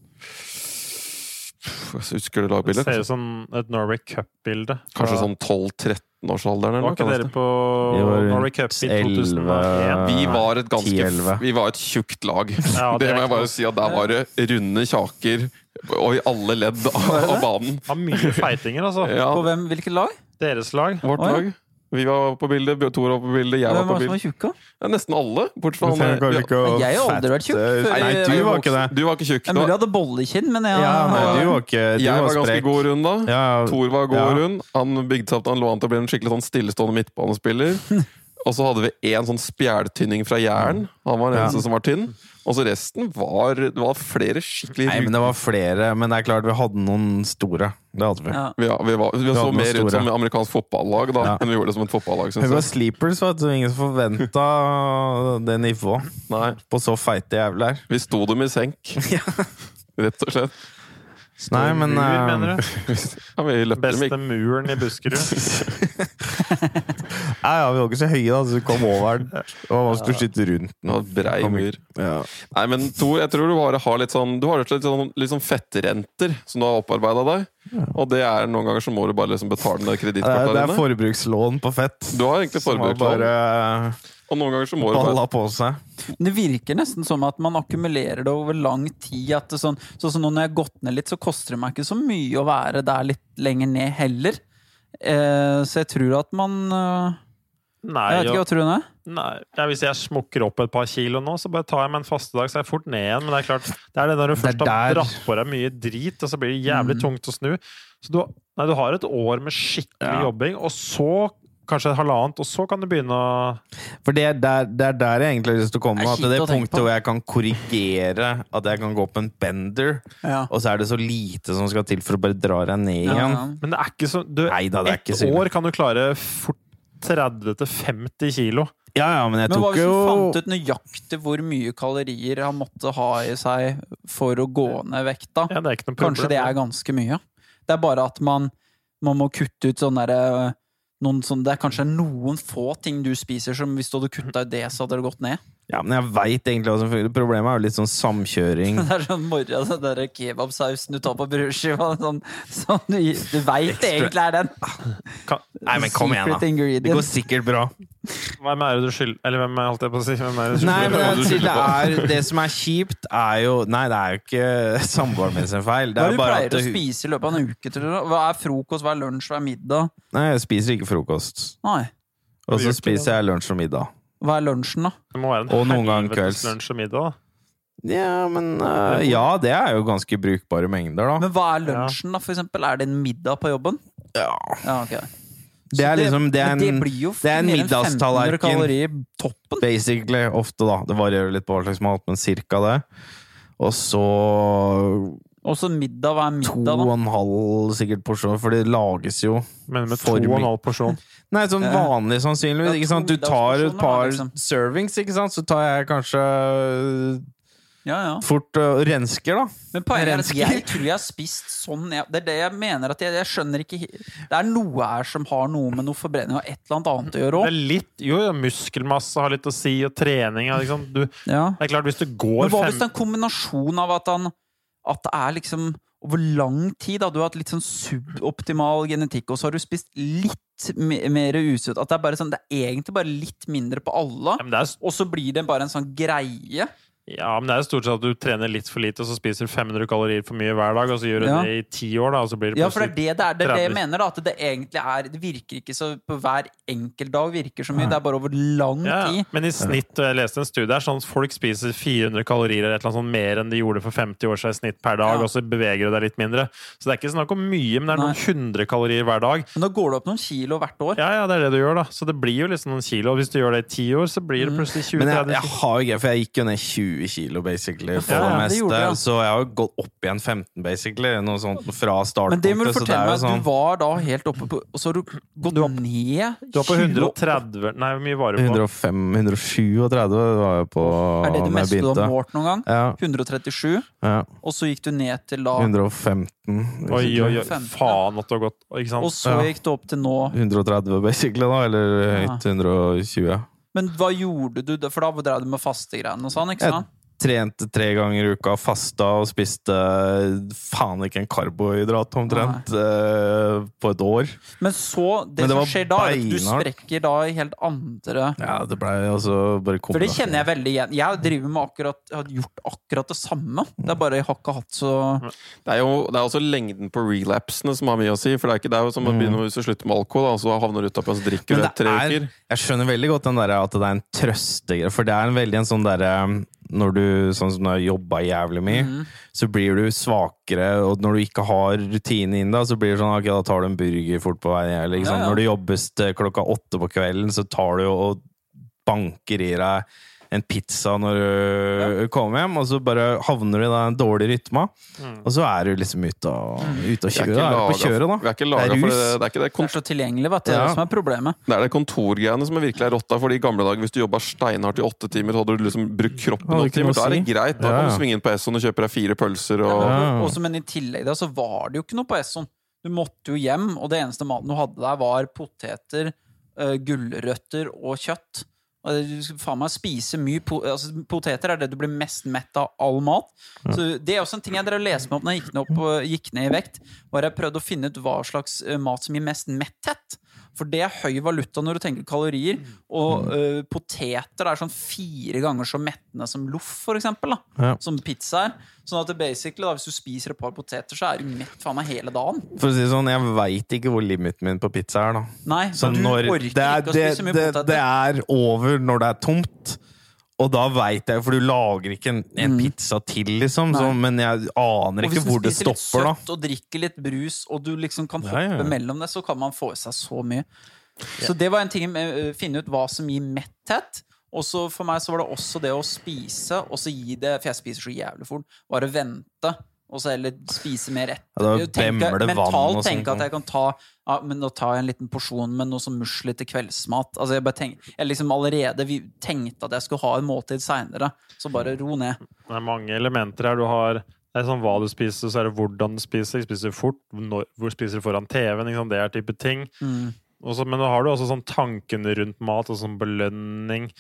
jeg husker det Det ser lagbildet. ut som et Norway Cup-bilde. Kanskje sånn 12-13-årsalderen Var eller noe. ikke kan det dere stemme? på Vi var rundt Norway Cup i 11. 2001? Vi var et ganske 10-11. Vi var et tjukt lag. Ja, det, det er må klart. jeg bare si at der var det runde kjaker og i alle ledd av, av banen. Har mye feitinger, altså. Ja, På hvem, hvilket lag? Deres lag. vårt Oi. lag. Vi var på bildet, Bjørn Thor var på bildet, jeg Hvem var var på det som var bildet. tjukk? da? Ja, nesten alle, bortsett fra trenger han kanskje ikke å Jeg har aldri vært tjukk fatte- før Nei, jeg du var var ikke det. Du var ikke tjukk Det er mulig da. jeg hadde bollekinn, men jeg Ja, nei, har- du var ikke Du Jeg var var ganske sprek. god rund da. Ja, Thor var god Ja. rund. Han byggetapte, han lå an til å bli en skikkelig sånn stillestående midtbanespiller. Og så hadde vi én sånn spjæltynning fra Jæren. Han var den eneste som var tynn. Og så resten var Det var flere skikkelig Nei, men det var flere. Men det er klart, vi hadde noen store. Det hadde vi. Ja. vi, ja, vi, var, vi så hadde noen mer ut store. som amerikansk fotballag da, Ja. enn vi gjorde det som et fotballag. Men Synes vi var jeg. sleepers, vet du. Ingen som forventa det nivået Nei, på så feite jævler. vi sto dem i senk. Rett og slett. Nei, men Mur, eh, mener du? Ja, vi løpte dem Beste ikke. muren i Buskerud. ja, ja, vi var ikke så høye, da, så du kom over den. Det var vanskelig å skyte rundt Det den. var brei Kom mur. Ja. Nei, men Tor, jeg tror du bare har litt sånn Du har rett og slett sånn, litt sånn fettrenter som du har opparbeida deg. Og det er noen ganger så må du bare liksom betale Det er, ned det er kredittkortene dine. forbrukslån på fett. Du har egentlig Som har forbrukslån, bare og noen ganger så må du bare balla på seg. Det virker nesten som at man akkumulerer det over lang tid. At det sånn, sånn som nå når jeg har gått ned litt, så koster det meg ikke så mye å være der litt lenger ned heller. Eh, så jeg tror at man eh, Nei, Jeg vet ikke jo. hva tror hun er. Nei, ja, Hvis jeg smukker opp et par kilo nå, så bare tar jeg meg en fastedag, så er jeg fort ned igjen. Men det er klart, det er det når du først har der. Mm. dratt på deg mye drit, og så blir det jævlig tungt å snu. Så du, nei, du har et år med skikkelig jobbing, og så kanskje et halvannet, og så kan du begynne å For det er der, det er der jeg egentlig har lyst til å komme. Det er At det kjipt å er tenke punktet på. hvor jeg kan korrigere at jeg kan gå på en bender, Ja. og så er det så lite som skal til for å bare dra deg ned Ja, igjen. ja. Men det er ikke så du, Nei da, det er Ett ikke så ille. år kan du klare fort 30-50 kilo. Ja, ja, men jeg Men hva tok hvis jo hun fant ut nøyaktig hvor mye kalorier han måtte ha i seg for å gå ned i vekt, da? Ja, det er ikke noe problem. Kanskje det er ganske mye. Det er bare at man, man må kutte ut sånn derre noen sånn, Det er kanskje noen få ting du spiser som hvis du hadde kutta ut det, så hadde det gått ned. Ja, men jeg veit egentlig hva som fungerer. Problemet er jo litt sånn samkjøring. Det er sånn morra, den der kebabsausen du tar på brødskiva. Sånn, sånn, du du veit det egentlig er den! Kan- Nei, men kom Secret igjen, da. Det går ingredient. sikkert bra. Hvem er det du skylder Eller hvem holdt jeg på å si? Hvem er det du Nei, skylder? men det, er, det som er kjipt, er jo Nei, det er jo ikke samboeren min sin feil. Det Hva er er det du bare pleier at å hun- spise i løpet av en uke? Tror du? da? Hva er frokost, hva er lunsj, hva er middag? Nei, jeg spiser ikke frokost. Nei. Og så spiser jeg lunsj og middag. Hva er lunsjen, da? Det må være en Og noen gang helvetes kvelds. lunsj og middag. da. Ja, men øh, Ja, det er jo ganske brukbare mengder, da. eh, Men hva er lunsjen, da, for eksempel? Er det en middag på jobben? Ja. Ja, ok. Det er Så liksom Det er men det en blir jo det er en mer enn 1500 middagstallerken. kalorier i toppen. Basically, ofte, da. Det varierer litt på hva slags mat, men cirka det. Og så Og så middag, hva er to middag, og da? en halv sikkert porsjon, for det lages jo Men med to For og en mye. halv porsjon. Nei, sånn Ja. vanlig Ja, sannsynligvis. to Ikke sant? Du tar et middagsporsjoner, par da, liksom. servings, ikke sant? så tar jeg kanskje øh, Ja, ja. fort øh, rensker, da. Men poenget er at Rensker. jeg tror jeg har spist sånn jeg, Det er det jeg mener at jeg, jeg skjønner ikke he- Det er noe her som har noe med noe forbrenning og et eller annet annet å gjøre Det òg. er litt, jo, ja, muskelmasse har litt å si, og trening ja, liksom. du, Det Ja. er klart, hvis du Men går hva hvis det er fem en kombinasjon av at han At det er liksom over lang tid da, Du har hatt litt sånn suboptimal genetikk, og så har du spist litt me- mer usunt. At det er bare sånn Det er egentlig bare litt mindre på alle, ja, men det er, og så blir det bare en sånn greie. ja, men det er stort sett at du trener litt for lite, og så spiser du 500 kalorier for mye hver dag, og så gjør du Ja. det i ti år, da, og så blir det Ja, for det er plutselig det det er. Det er det jeg 30. mener, da. At det egentlig er Det virker ikke så på hver enkelt dag virker så mye. Det er bare over lang ja, ja. tid. Men i snitt, og jeg leste en studie her, sånn at folk spiser 400 kalorier eller et eller annet sånt mer enn de gjorde for 50 år siden i snitt per dag, Ja. og så beveger du deg litt mindre. Så det er ikke snakk om mye, men det er noen hundre kalorier hver dag. Men da går det opp noen kilo hvert år. Ja, ja, det er det du gjør, da. Så det blir jo liksom noen kilo. Og hvis du gjør det i ti år, så blir det Mm. plutselig 20-30 Men kilo. jeg, jeg har jo ikke For jeg gikk jo ned 20 kilo, basically, for Ja, det det meste. gjorde jeg. Så jeg har jo gått opp igjen 15, basically. Noe sånt fra Men det må du startpunktet. Så det fortelle meg. er jo sånn Du var da helt oppe på Og så har du gått ned Du var på 20 år. 130 Nei, hvor mye varer du på? 105 137 var jeg på Er det det når jeg meste du har begynte. målt noen gang? Ja, 137. ja. Og så gikk du ned til da 115. Oi, oi, oi. 115. Faen at du har gått Ikke Og sant? så Ja. gikk du opp til nå. 130, basically, da. Eller Ja. 120. Men hva gjorde du? da? For da drev du med fastegreiene og sånn, ikke Jeg sant? trente tre ganger i uka, fasta og spiste faen ikke en karbohydrat omtrent eh, på et år. Men så, det, Men det som var skjer da, er at du beinhardt. sprekker da i helt andre Ja, det blei altså bare For det kjenner jeg veldig igjen. Jeg driver med akkurat, jeg har gjort akkurat det samme. Det er bare jeg har ikke hatt så Det er jo det er også lengden på relapsene som har mye å si. For det er, ikke, det er jo som å begynne hvis du slutter med alkohol, da, og så havner du utapå og så drikker Mm. Men du det et tre er, uker. jeg skjønner veldig godt den der, at det er en trøstegreie. For det er en veldig en sånn derre Når du sånn som du har jobba jævlig mye, Mhm. så blir du svakere. Og når du ikke har rutine inn da, så blir det sånn Ok, da tar du en burger fort på veien. Eller, ikke sant? Ja, ja. Når det jobbes til klokka åtte på kvelden, så tar du jo og banker i deg en pizza når du kommer hjem, og så bare havner du i den dårlige rytma. Mm. Og så er du liksom ute og, ute og Vi er kjører. ikke Da er du på laget- kjøret, da. Vi er ikke laget Det er for rus. det. Det er ikke det Det er så tilgjengelig, vet du. Det er Ja. det som er problemet. Det er det kontorgreiene som er virkelig er rotta. For i gamle dager, hvis du jobba steinhardt i åtte timer, så hadde du liksom brukt kroppen Hadde noen ikke noe timer. Da er å det si. greit. Da Ja, ja. kan du svinge inn på Esson og kjøpe deg fire pølser og Ja. Også, men i tillegg da, så var det jo ikke noe på Esson. Du måtte jo hjem, og det eneste maten du hadde der, var poteter, eh, gulrøtter og kjøtt. Og det- Du skal faen meg spise mye po altså, Poteter er det du blir mest mett av all mat. Så Det er også en ting jeg drev og leste meg opp når jeg gikk ned, opp, og gikk ned i vekt. Var jeg prøvde å finne ut hva slags eh, mat som gir mest metthet. For det er høy valuta når du tenker kalorier. Mm. Og eh, poteter er sånn fire ganger så mettende som loff, for eksempel. Da. Ja. Som pizza er. Sånn at det basically, da, hvis du spiser et par poteter, så er du mett faen meg hele dagen. For å si det sånn, jeg veit ikke hvor limiten min på pizza er, da. Nei, Så du når orker det er, ikke å det, spise mye det, poteter. det er over når det er tomt. Og da veit jeg, for du lager ikke en, en pizza til, liksom. Så, men jeg aner Mm. Og hvis ikke du hvor det spiser litt stopper, da. søtt og drikker litt brus, og du liksom kan hoppe ja, ja. mellom det, så kan man få i seg så mye. Så det var en ting med å finne ut hva som gir metthet. Og så for meg så var det også det å spise, og så gi det For jeg spiser så jævlig fort. Bare vente, og så heller spise mer etter. Ja, da Jeg tenker- bemmer det vann mentalt og sånt. tenke at jeg kan ta ja, men Nå tar jeg en liten porsjon med noe som musli til kveldsmat. Altså Jeg bare tenk, jeg liksom allerede vi tenkte at jeg skulle ha en måltid seinere, så bare ro ned. Det er mange elementer her. Du har det er sånn hva du spiser, så er det hvordan du spiser. Spiser du fort? Når, hvor spiser du foran TV-en? Ikke sant? Det er type ting. Mm. Og så- men nå har du også sånn tankene rundt mat, og sånn belønning.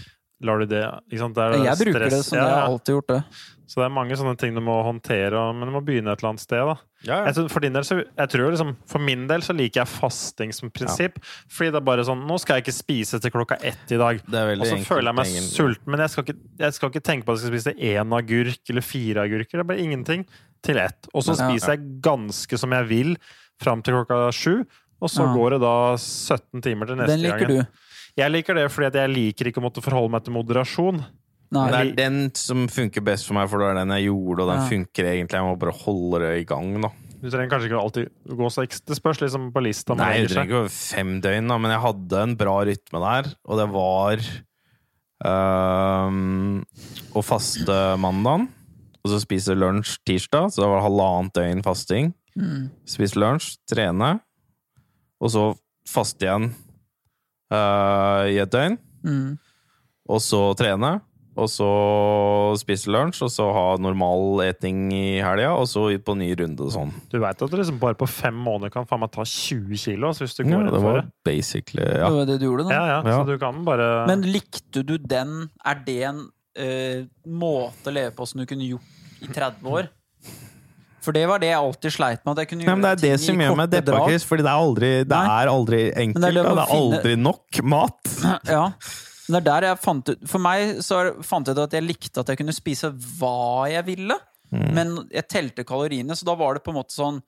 Lar du det ikke sant? Det er Jeg bruker det stress- som Ja, jeg ja. har alltid gjort det. Så det er mange sånne ting du må håndtere, og- men du må begynne et eller annet sted. da. Jeg, tror- for, din del, så, jeg tror liksom, for min del så liker jeg fasting som prinsipp. Fordi det er bare sånn Nå skal jeg ikke spise til klokka ett i dag. Det er veldig Og så enkelt, føler jeg meg egentlig. sulten, men jeg skal, ikke, jeg skal ikke tenke på at jeg skal spise én agurk eller fire agurker. Det er bare ingenting til ett. Og så Ja. spiser jeg ganske som jeg vil fram til klokka sju. Og så Ja. går det da 17 timer til neste Den liker gang. du. Jeg liker det fordi at jeg liker ikke å måtte forholde meg til moderasjon. Nei. Det er den som funker best for meg, for det er den jeg gjorde, og den Ja. funker egentlig. Jeg må bare holde det i gang, da. Du trenger kanskje ikke alltid gå så ekstra. Det spørs liksom på lista. man Nei, legger jeg seg. trenger ikke å være fem døgn, da, men jeg hadde en bra rytme der, og det var øhm, å faste mandagen, og så spise lunsj tirsdag, så det var halvannet døgn fasting. Spise lunsj, trene, og så faste igjen øh, i et døgn, Mm. og så trene. Og så spise lunsj, og så ha normal eting i helga, og så ut på ny runde og sånn. Du veit at du liksom bare på fem måneder kan faen meg ta 20 kilo altså, hvis du går Ja, inn det for var det. basically ja. Det var det du gjorde, da. Ja, ja, Ja. Så du kan bare Men likte du den Er det en eh, måte å leve på som du kunne gjort i 30 år? For det var det jeg alltid sleit med. At jeg kunne Nei, gjøre men det er det ting som i gjør meg korte deppa, drag. Chris. Fordi det er aldri, det Nei. er aldri enkelt. det er Det lov er, å det er finne- aldri nok mat. Ja. Men det er der jeg fant ut For meg så er- fant jeg ut at jeg likte at jeg kunne spise hva jeg ville, Mm. men jeg telte kaloriene, så da var det på en måte sånn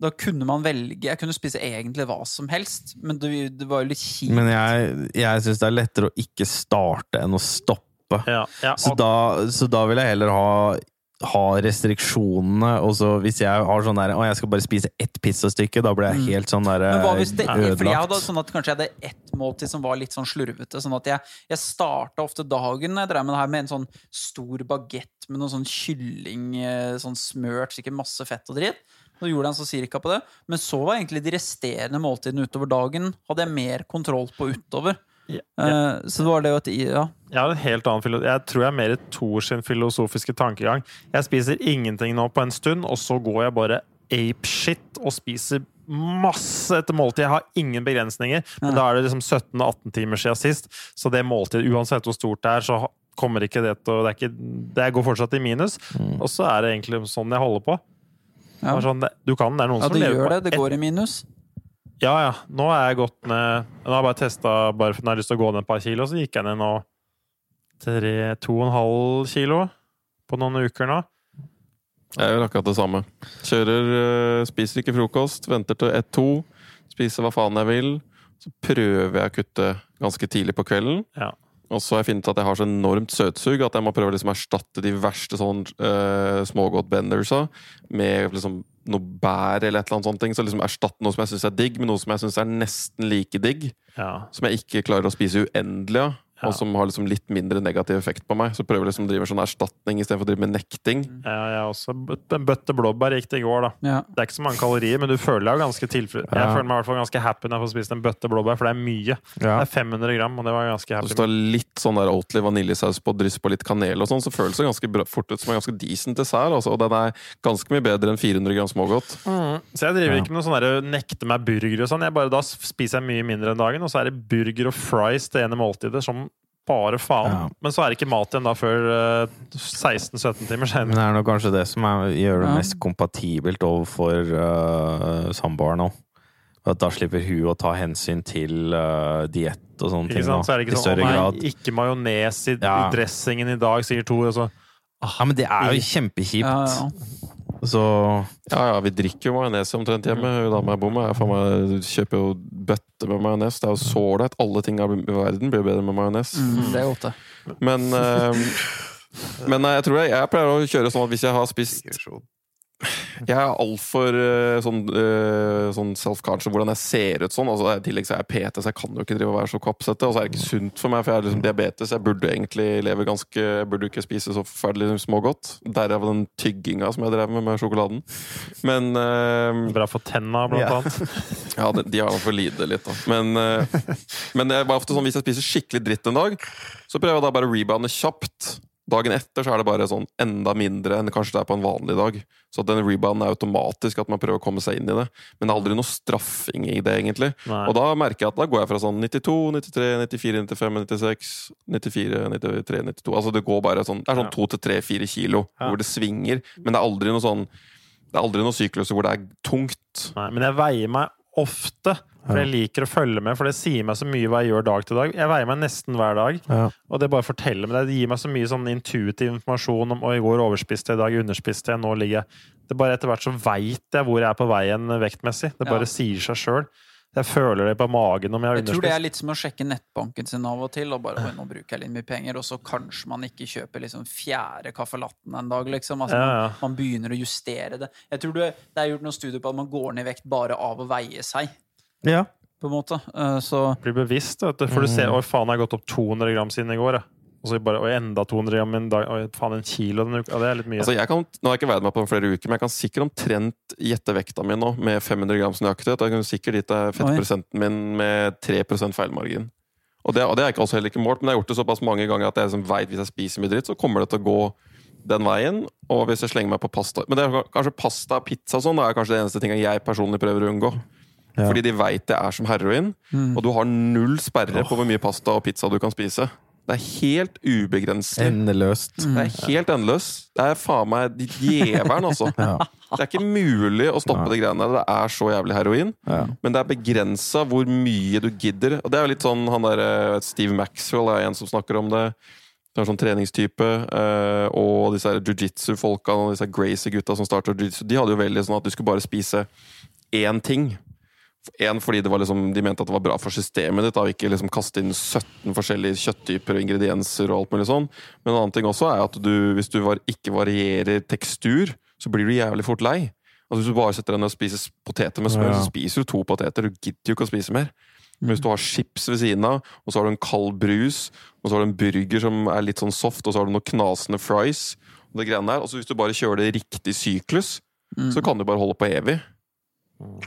da kunne man velge. Jeg kunne spise egentlig hva som helst, men det, det var jo litt kjipt. Men jeg, jeg syns det er lettere å ikke starte enn å stoppe. ja, ja, Så og- da, så da vil jeg heller ha ha restriksjonene, og så hvis jeg har sånn der Å, jeg skal bare spise ett pizzastykke, da blir jeg helt sånn der Mm. Eh, Men hva hvis det, fordi jeg hadde ødelagt. sånn at Kanskje jeg hadde ett måltid som var litt sånn slurvete. Sånn at jeg, jeg starta ofte dagen når jeg drev med det her med en sånn stor bagett med noe sånn kylling eh, sånn smørt, sikkert masse fett og dritt. Så gjorde jeg en sånn cirka på det. Men så var egentlig de resterende måltidene utover dagen hadde jeg mer kontroll på utover. Ja, Eh, Så det var det jo at Ja. Jeg har en helt annen filo Jeg tror jeg er mer i Thor sin filosofiske tankegang. Jeg spiser ingenting nå på en stund, og så går jeg bare apeshit og spiser masse etter måltid. Jeg har ingen begrensninger, men da er det liksom 17-18 timer siden sist, så det måltidet, uansett hvor stort det er, så kommer ikke det til å Det, er ikke, det går fortsatt i minus. Og så er det egentlig sånn jeg holder på. Det Mm. Ja. er Sånn, det- du kan, det er noen Ja, som det lever gjør på det. Det ett- går i minus. Ja, ja. Nå er jeg gått ned Nå har jeg bare testa bare for nå har jeg lyst til å gå ned et par kilo, så gikk jeg ned nå tre, to og en halv kilo på noen uker nå. Jeg gjør akkurat det samme. Kjører, eh, spiser ikke frokost, venter til 1-2, spiser hva faen jeg vil. Så prøver jeg å kutte ganske tidlig på kvelden. Ja. Og så har jeg funnet at jeg har så enormt søtsug at jeg må prøve å liksom erstatte de verste sånn uh, smågodtbendersa med liksom noe bær eller et eller annet sånt. ting. Så liksom erstatte noe som jeg syns er digg, med noe som jeg syns er nesten like digg. Ja. Som jeg ikke klarer å spise uendelig av. Ja. Og som har liksom litt mindre negativ effekt på meg. Så prøver jeg liksom å drive med sånn erstatning istedenfor å drive med nekting. ja jeg har også bøtt- En bøtte blåbær gikk det i går, da. Ja. Det er ikke så mange kalorier, men du føler deg jo ganske tilfreds. Jeg Ja. føler meg i hvert fall ganske happy når jeg får spist en bøtte blåbær, for det er mye. sånn- Ja. Det er 500 gram, og det var jeg ganske Hvis happy. du med. har litt sånn der Oatly vaniljesaus på, dryss på litt kanel og sånn, så føles det ganske bra, fort ut som en ganske decent dessert. Altså, og den er ganske mye bedre enn 400 gram smågodt. Mm. Så jeg driver ikke med noe sånn der, nekte meg burger og sånn. Jeg bare, da spiser jeg mye mindre enn dagen, og så er det burger og fries det ene måltidet som bare faen. Ja. Men så er det ikke mat igjen da før eh, 16-17 timer Men senere. det er nok kanskje det som er, gjør det Ja. mest kompatibelt overfor uh, samboeren òg. At da slipper hun å ta hensyn til uh, diett og sånne Ikke ting. sant? Så er det nå, ikke I sånn, større å grad. nei, ikke majones i, i Ja. dressingen i dag, sier Tor. Og så. Ja, men det er jo kjempekjipt. Ah. Ja, ja. Så Ja ja, vi drikker jo majones omtrent hjemme. Hun dama jeg bor med, jeg faen meg kjøper jo bøtte med majones. Det er jo sålet. Alle ting i verden blir bedre med majones. Mm, det er godt, det. Men, eh, men nei, jeg tror jeg, jeg pleier å kjøre sånn at hvis jeg har spist Jeg er altfor uh, sånn, eh, sånn self-conscious om hvordan jeg ser ut sånn. Altså, I tillegg så er jeg PT, så jeg kan jo ikke drive og være så kappsete. Og så er det ikke sunt for meg, for jeg har liksom diabetes. Jeg burde egentlig leve ganske Jeg burde ikke spise så forferdelig smågodt. Derav den tygginga som jeg drev med med sjokoladen. Men eh, Bra for tenna, blant annet. ja, de, de har i hvert fall lidd litt, da. Men, eh, men det er bare ofte sånn, hvis jeg spiser skikkelig dritt en dag, så prøver jeg da bare å rebounde kjapt. Dagen etter så er det bare sånn enda mindre enn kanskje det er på en vanlig dag. Så at den rebounden er automatisk, at man prøver å komme seg inn i det. Men det er aldri noe straffing i det, egentlig. Nei. Og da merker jeg at da går jeg fra sånn 92, 93, 94, 95, 96, 94, 93, 92 Altså det går bare sånn Det er sånn Ja. to til tre-fire kilo Ja. hvor det svinger. Men det er aldri noe sånn Det er aldri noen sykluser hvor det er tungt. Nei, men jeg veier meg ofte, for jeg liker å følge med, for det sier meg så mye hva jeg gjør dag til dag. Jeg veier meg nesten hver dag, Ja. og det bare forteller meg det. Det gir meg så mye sånn intuitiv informasjon om «Å, i går overspiste jeg, i dag underspiste jeg, nå ligger jeg Det er bare etter hvert så veit jeg hvor jeg er på veien vektmessig. Det Ja. bare sier seg sjøl. Jeg føler det på magen om jeg har Jeg tror det underspist. er litt som å sjekke nettbanken sin av og til, og bare «Oi, nå bruker jeg litt mye penger, og så kanskje man ikke kjøper liksom fjerde caffè latten en dag, liksom. Altså, Ja, man- ja. Man begynner å justere det. Jeg tror det, det er gjort noen studier på at man går ned i vekt bare av å veie seg, ja. på en måte. Eh, Så Blir bevisst, vet du. For du ser 'Å, faen, jeg har gått opp 200 gram siden i går', jeg. Og så bare 'Å, enda 200 gram en dag', 'Å, faen, en kilo denne uka'. Ja, det er litt mye. Altså, jeg kan, nå har jeg ikke veid meg på flere uker, men jeg kan sikkert omtrent gjette vekta mi nå med 500 grams nøyaktighet. Jeg kan sikkert dit er fettprosenten min med 3 feilmargin. Og det, og det er ikke også heller ikke målt, men jeg har gjort det såpass mange ganger at jeg liksom vet hvis jeg spiser mye dritt, så kommer det til å gå den veien. Og hvis jeg slenger meg på pasta Men det er kanskje pasta og pizza og sånn, det er kanskje det eneste tinga jeg personlig prøver å unngå. Fordi de veit det er som heroin, og du har null sperre på hvor mye pasta og pizza du kan spise. Det er helt ubegrenselig. Endeløst. Det er helt endeløs. Det er faen meg djevelen, altså. Det er ikke mulig å stoppe de greiene der. Det er så jævlig heroin. Men det er begrensa hvor mye du gidder. Og det er jo litt sånn han der, eh, Steve Maxwell er en som snakker om det. Det er sånn treningstype. eh, Og disse her jiu-jitsu-folka og disse Gracie-gutta som starter jiu-jitsu, de hadde jo veldig sånn at du skulle bare spise én ting. En fordi det var liksom, de mente at det var bra for systemet ditt, da, og ikke liksom kaste inn 17 forskjellige kjøtttyper og ingredienser. og alt mulig sånn. Men en annen ting også er at du, hvis du var, ikke varierer tekstur, så blir du jævlig fort lei. Altså Hvis du bare setter deg ned og spiser poteter med smør, Ja. så spiser du to poteter. Du gidder jo ikke å spise mer. Men hvis du har chips ved siden av, og så har du en kald brus, og så har du en burger som er litt sånn soft, og så har du noen knasende fries og det greiene der, og så Hvis du bare kjører det i riktig syklus, Mm. så kan du bare holde på evig.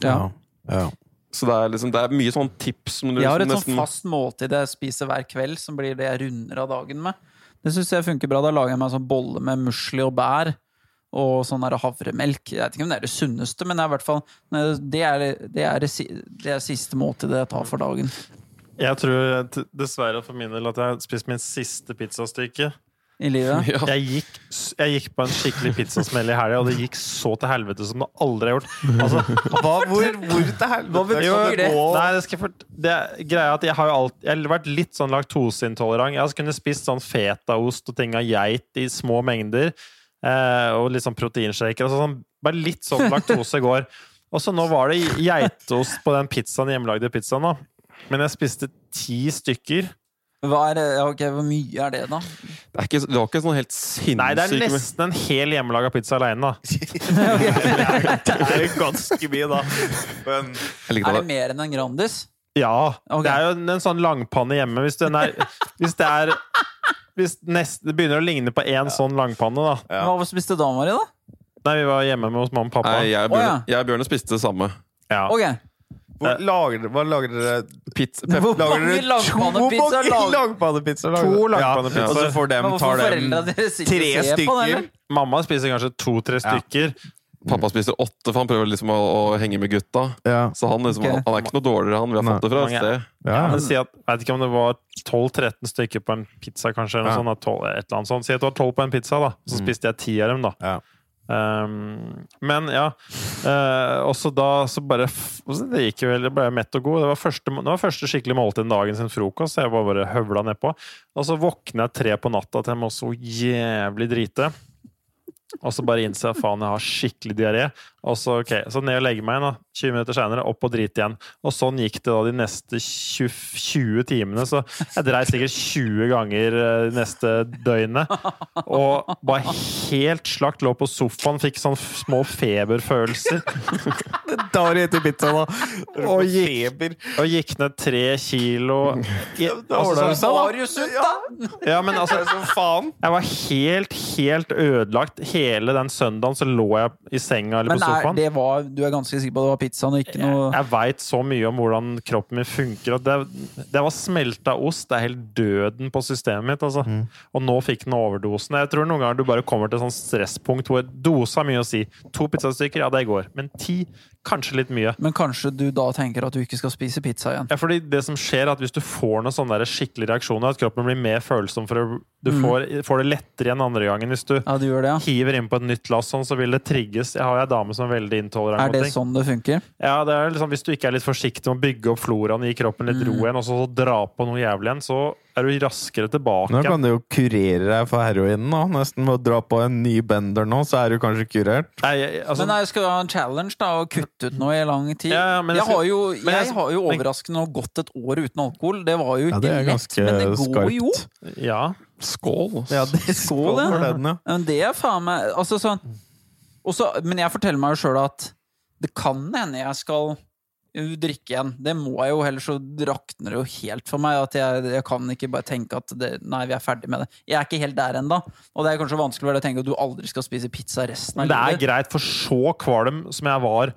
ja. Ja. Så det er, liksom, det er mye sånn tips som du Jeg har et sånn liksom fast måltid jeg spiser hver kveld, som blir det jeg runder av dagen med. Det syns jeg funker bra. Da lager jeg meg en sånn bolle med musli og bær. Og sånn der havremelk. Jeg vet ikke om det er det sunneste, men det er i hvert fall det er, det, er, det si- det er siste måltidet jeg tar for dagen. Jeg tror t- dessverre for min del at jeg har spist min siste pizzastykke. i livet. Ja. Jeg gikk, s- jeg gikk på en skikkelig pizzasmell i helga, og det gikk så til helvete som det aldri har gjort. Altså, Hva, hvor, hvor til helvete jo, kan det gå? Nei, det skal jeg fort... Det er greia at jeg har jo alt... Jeg har vært litt sånn laktoseintolerant. Jeg har kunnet spist sånn fetaost og ting av geit i små mengder. Eh, og litt sånn proteinshaker. Altså sånn, bare litt sånn laktose går. Og så nå var det geitost på den pizzaen, hjemmelagde pizzaen, da. Men jeg spiste ti stykker. Hva, er, det- ja, ok, hvor mye er det, da? Det, er ikke, det var ikke sånn helt sinnssykt Nei, det er men- nesten en hel hjemmelaga pizza aleine, da. Det er jo ganske mye, da. Men Jeg liker Er det. det mer enn en Grandis? Ja. Ok. Det er jo en, en sånn langpanne hjemme. Hvis, den er, hvis det er hvis nest, Det begynner å ligne på én sånn langpanne, da. Ja. Hva spiste dama di, da? Nei, vi var hjemme med hos mamma og pappa. Nei, jeg og Bjørne, Å, jeg og Bjørne spiste det samme. Ja. Ok, hvor lager dere, hva lager dere? Pizza, Hvor pep, Lager mange dere langpannepizzaer lager- langpannepizzaer? lager To dere? langpannepizzaer. Ja, Og så får dem, Men tar hvorfor dem foreldra deres ikke tre ser på den? stykker. eller? Mamma spiser kanskje to-tre stykker. pappa spiste åtte, for han prøver liksom å, å henge med gutta. Ja. Så han, liksom, Ok. han, han er ikke noe dårligere, han. Vi har Nei. fått det fra et Mange- sted. Ja. Ja. men si at, jeg vet ikke om det var 12-13 stykker på en pizza, kanskje. Eller noe Ja. sånt, da, 12, et eller annet sånt. Si at det var 12 på en pizza, da. Så spiste jeg 10 av dem, da. Ja. Um, men ja uh, Også da så bare f- altså, Det gikk jo veldig, ble jeg mett og god. Det var første, det var første skikkelig måltid dagen sin frokost. Så jeg bare, bare høvla nedpå. Og så våkner jeg tre på natta til jeg må så jævlig drite. Og så bare innser jeg faen, jeg har skikkelig diaré. Og så, ok, så ned og legge meg igjen, da. 20 minutter seinere, opp og drite igjen. Og sånn gikk det da de neste 20, 20 timene. Så jeg dreit sikkert 20 ganger eh, de neste døgnet. Og bare helt slakt lå på sofaen, fikk sånn små feberfølelser. Da var det etter pizza, da. Og Feber. Og gikk ned tre kilo. I- ordner Altså, det seg, da. Var jo sunt, da! ja, men altså, Som faen. jeg var helt, helt ødelagt. Hele den søndagen så lå jeg i senga eller Men på er, sofaen. det var, du er ganske sikker på at det var pizzaen og ikke noe Jeg veit så mye om hvordan kroppen min funker. At det, det var smelta ost. Det er helt døden på systemet mitt. Altså. Mm. Og nå fikk den overdosen. Jeg tror noen ganger du bare kommer til et sånt stresspunkt hvor dose har mye å si. To pizzastykker, ja, det går. Men ti, kanskje litt mye. Men kanskje du da tenker at du ikke skal spise pizza igjen? Ja, fordi det som skjer er at Hvis du får noen sånne der skikkelige reaksjoner, at kroppen blir mer følsom for å, Du Mm. får, får det lettere igjen andre gangen. Hvis du Ja, du gjør det, ja. hiver inn på et nytt lass, sånn, så vil det trigges. Jeg har ei dame som er veldig intolerant. Er mot det ting. sånn det funker? Ja, det er liksom, Hvis du ikke er litt forsiktig med å bygge opp floraen, gi kroppen litt ro igjen, og så dra på noe jævlig igjen, så er du raskere tilbake. Nå kan du jo kurere deg for heroinen, da. Nesten ved å dra på en ny bender nå, så er du kanskje kurert. Nei, jeg- altså, Men jeg skal ha en challenge da og kutte ut noe i lang tid. Ja, ja, men jeg, jeg skal- har jo, men jeg- jeg har jo men- overraskende nok gått et år uten alkohol. Det var jo Ja, ikke det er lett, ganske men det går skarpt. jo. ja. Skål! ass. Ja, det Skål, ja. Men det er faen meg altså, sånn. Også, Men jeg forteller meg jo sjøl at det kan hende jeg skal uh, drikke igjen. Det må jeg jo, ellers så rakner det jo helt for meg. At jeg, jeg kan ikke bare tenke at det, nei, vi er ferdig med det. Jeg er ikke helt der ennå. Og det er kanskje vanskelig for deg å tenke at du aldri skal spise pizza resten av Men det er livet. greit, for så kvalm som jeg var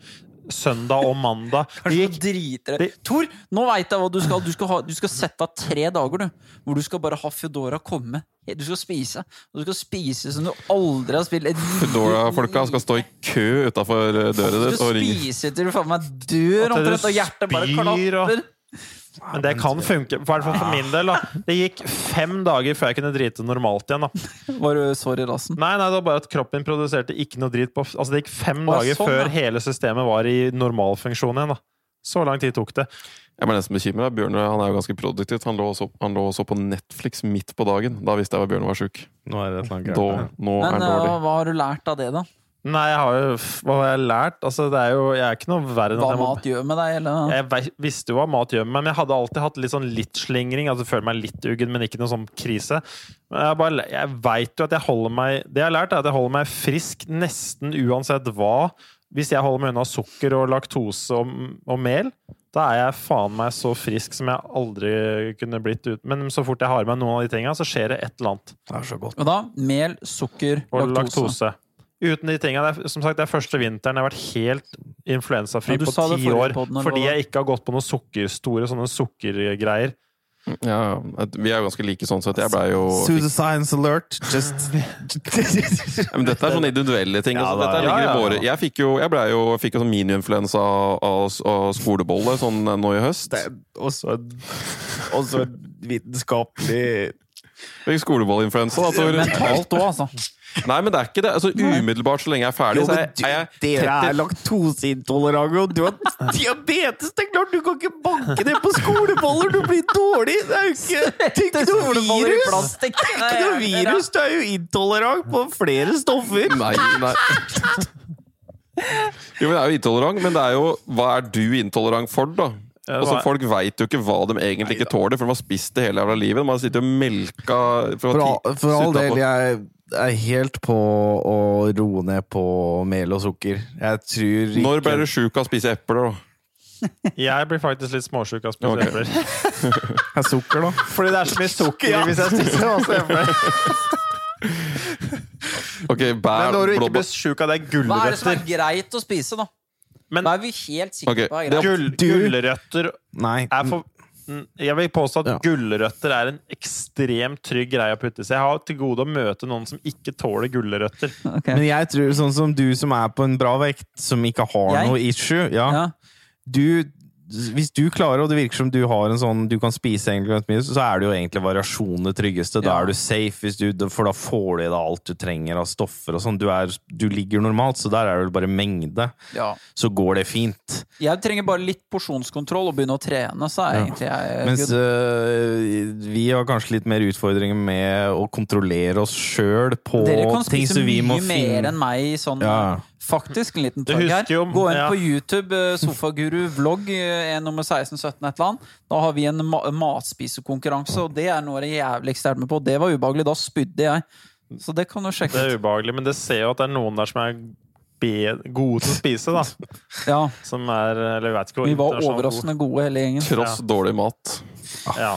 søndag og mandag Det Kanskje gikk du driter deg det- Tor, nå veit jeg hva du skal. Du skal, ha, du skal sette av tre dager, du. Hvor du skal bare ha Foodora komme. Du skal spise. Og du skal spise som du aldri har spilt. Foodora-folka skal stå i kø utafor døra Du di og ringe. spiser til du faen meg dør At du omtrent, og hjertet bare spyr, klapper. og- Men det kan funke, i hvert fall for min del. da Det gikk fem dager før jeg kunne drite normalt igjen. da Var du sår i rassen? Nei, nei, det var bare at kroppen min produserte ikke noe drit på Altså det gikk fem Å, dager sånn, før ja. hele systemet var i normalfunksjon igjen. da Så lang tid tok det. Jeg ble nesten bekymra. Bjørne han er jo ganske produktivt. Han lå, og så, han lå og så på Netflix midt på dagen. Da visste jeg at Bjørne var sjuk. Nå er det sånn et eller annet Da- Nå er Men han eh, hva, hva dårlig. har du lært av det, da? Nei, jeg har jo Hva har jeg lært? Altså, det er jo Jeg er ikke noe verre enn Hva at jeg må mat gjør med deg? Eller? Jeg vei- visste jo hva mat gjør med meg, men jeg hadde alltid hatt litt sånn litt slingring. Altså føler meg litt uggen, men ikke noe sånn krise. Men jeg, bare, jeg vet jo at jeg holder meg Det jeg har lært, er at jeg holder meg frisk nesten uansett hva. Hvis jeg holder meg unna sukker og laktose og, og mel, da er jeg faen meg så frisk som jeg aldri kunne blitt ut. Men så fort jeg har i meg noen av de tinga, så skjer det et eller annet. Det er så godt. Og da mel, sukker, Og laktose. laktose. Uten de tinga. Det er, som sagt, det er første vinteren jeg har vært helt influensafri Ja, du på sa det ti forrige år. podden, eller fordi hva? jeg ikke har gått på noen sukker, store sånne sukkergreier. Ja, at vi er jo ganske like sånn sett. Jeg blei jo Suicide alert. Just Ja, Men dette er sånne individuelle ting. altså, dette ligger i våre. Jeg fikk jo, jeg ble jo, fikk jo sånn mini-influensa av, av skolebolle sånn eh, nå i høst. Det er også en, også en vitenskapelig Fikk skolebollinfluensa, da, Tor. Mentalt òg, altså. Nei, men det er ikke det. Altså, umiddelbart så lenge jeg er ferdig, Jo, så sånn men er du, jeg, er jeg Dere er tett i laktoseintolerante, og du har diabetes! Det er klart du kan ikke banke det på skoleboller! Du blir dårlig! Det er jo ikke, det er ikke noe virus! Det er ikke noe virus! Du er jo intolerant på flere stoffer! Nei, nei. Jo, men jeg er jo intolerant, men det er jo Hva er du intolerant for, da? Ja, Altså, hva- folk veit jo ikke hva de egentlig ikke tåler, for de har spist det hele jævla livet. De har sittet og melka fra For, ti- all, for all sutta del, på- jeg er helt på å roe ned på mel og sukker. Jeg tror ikke Når ble du sjuk av å spise epler, da? Jeg blir faktisk litt småsjuk av å spise Ok. epler. Er sukker, da? Fordi det er så mye sukker i hvis jeg spiser masse epler. Ok, bær, Men når du ikke blåbær blir sjuk av det, er Hva er det som gulrøtter. er greit å spise, da? Men- Hva er vi helt sikre Ok, på er det greit? er- Gull, gulrøtter Nei. er for Mm, Jeg vil påstå at Ja. gulrøtter er en ekstremt trygg greie å putte i seg. Jeg har til gode å møte noen som ikke tåler gulrøtter. Ok. Men jeg tror sånn som du som er på en bra vekt, som ikke har Jeg? noe issue ja, Ja. Du, Hvis du klarer, og det virker som du har en sånn du kan spise egentlig ganske mye, så er det jo egentlig variasjon det tryggeste. Da Ja. er du safe, hvis du, for da får du i deg alt du trenger av stoffer og sånn. Du, er- du ligger normalt, så der er det vel bare mengde. Ja. Så går det fint. Jeg trenger bare litt porsjonskontroll og begynne å trene, så er egentlig jeg Mens good. øh, vi har kanskje litt mer utfordringer med å kontrollere oss sjøl på Dere kan ting spise som vi må mye mer finne enn meg i sånn Ja. Faktisk, en liten Du plug her. husker jo- Gå inn ja. på YouTube, eh, Sofaguru vlogg, eh, er nummer 16-17 et eller annet. Da har vi en ma matspisekonkurranse, og det er noe av det jævligste jeg har vært med på. Det var ubehagelig. Da spydde jeg. Så det kan du Det sjekke er ut. ubehagelig, men det ser jo at det er noen der som er be- gode til å spise, da. Ja, Som er Eller jeg vet ikke hvor vi var internasjonalt overraskende gode, hele gjengen. tross dårlig mat. god- Ja.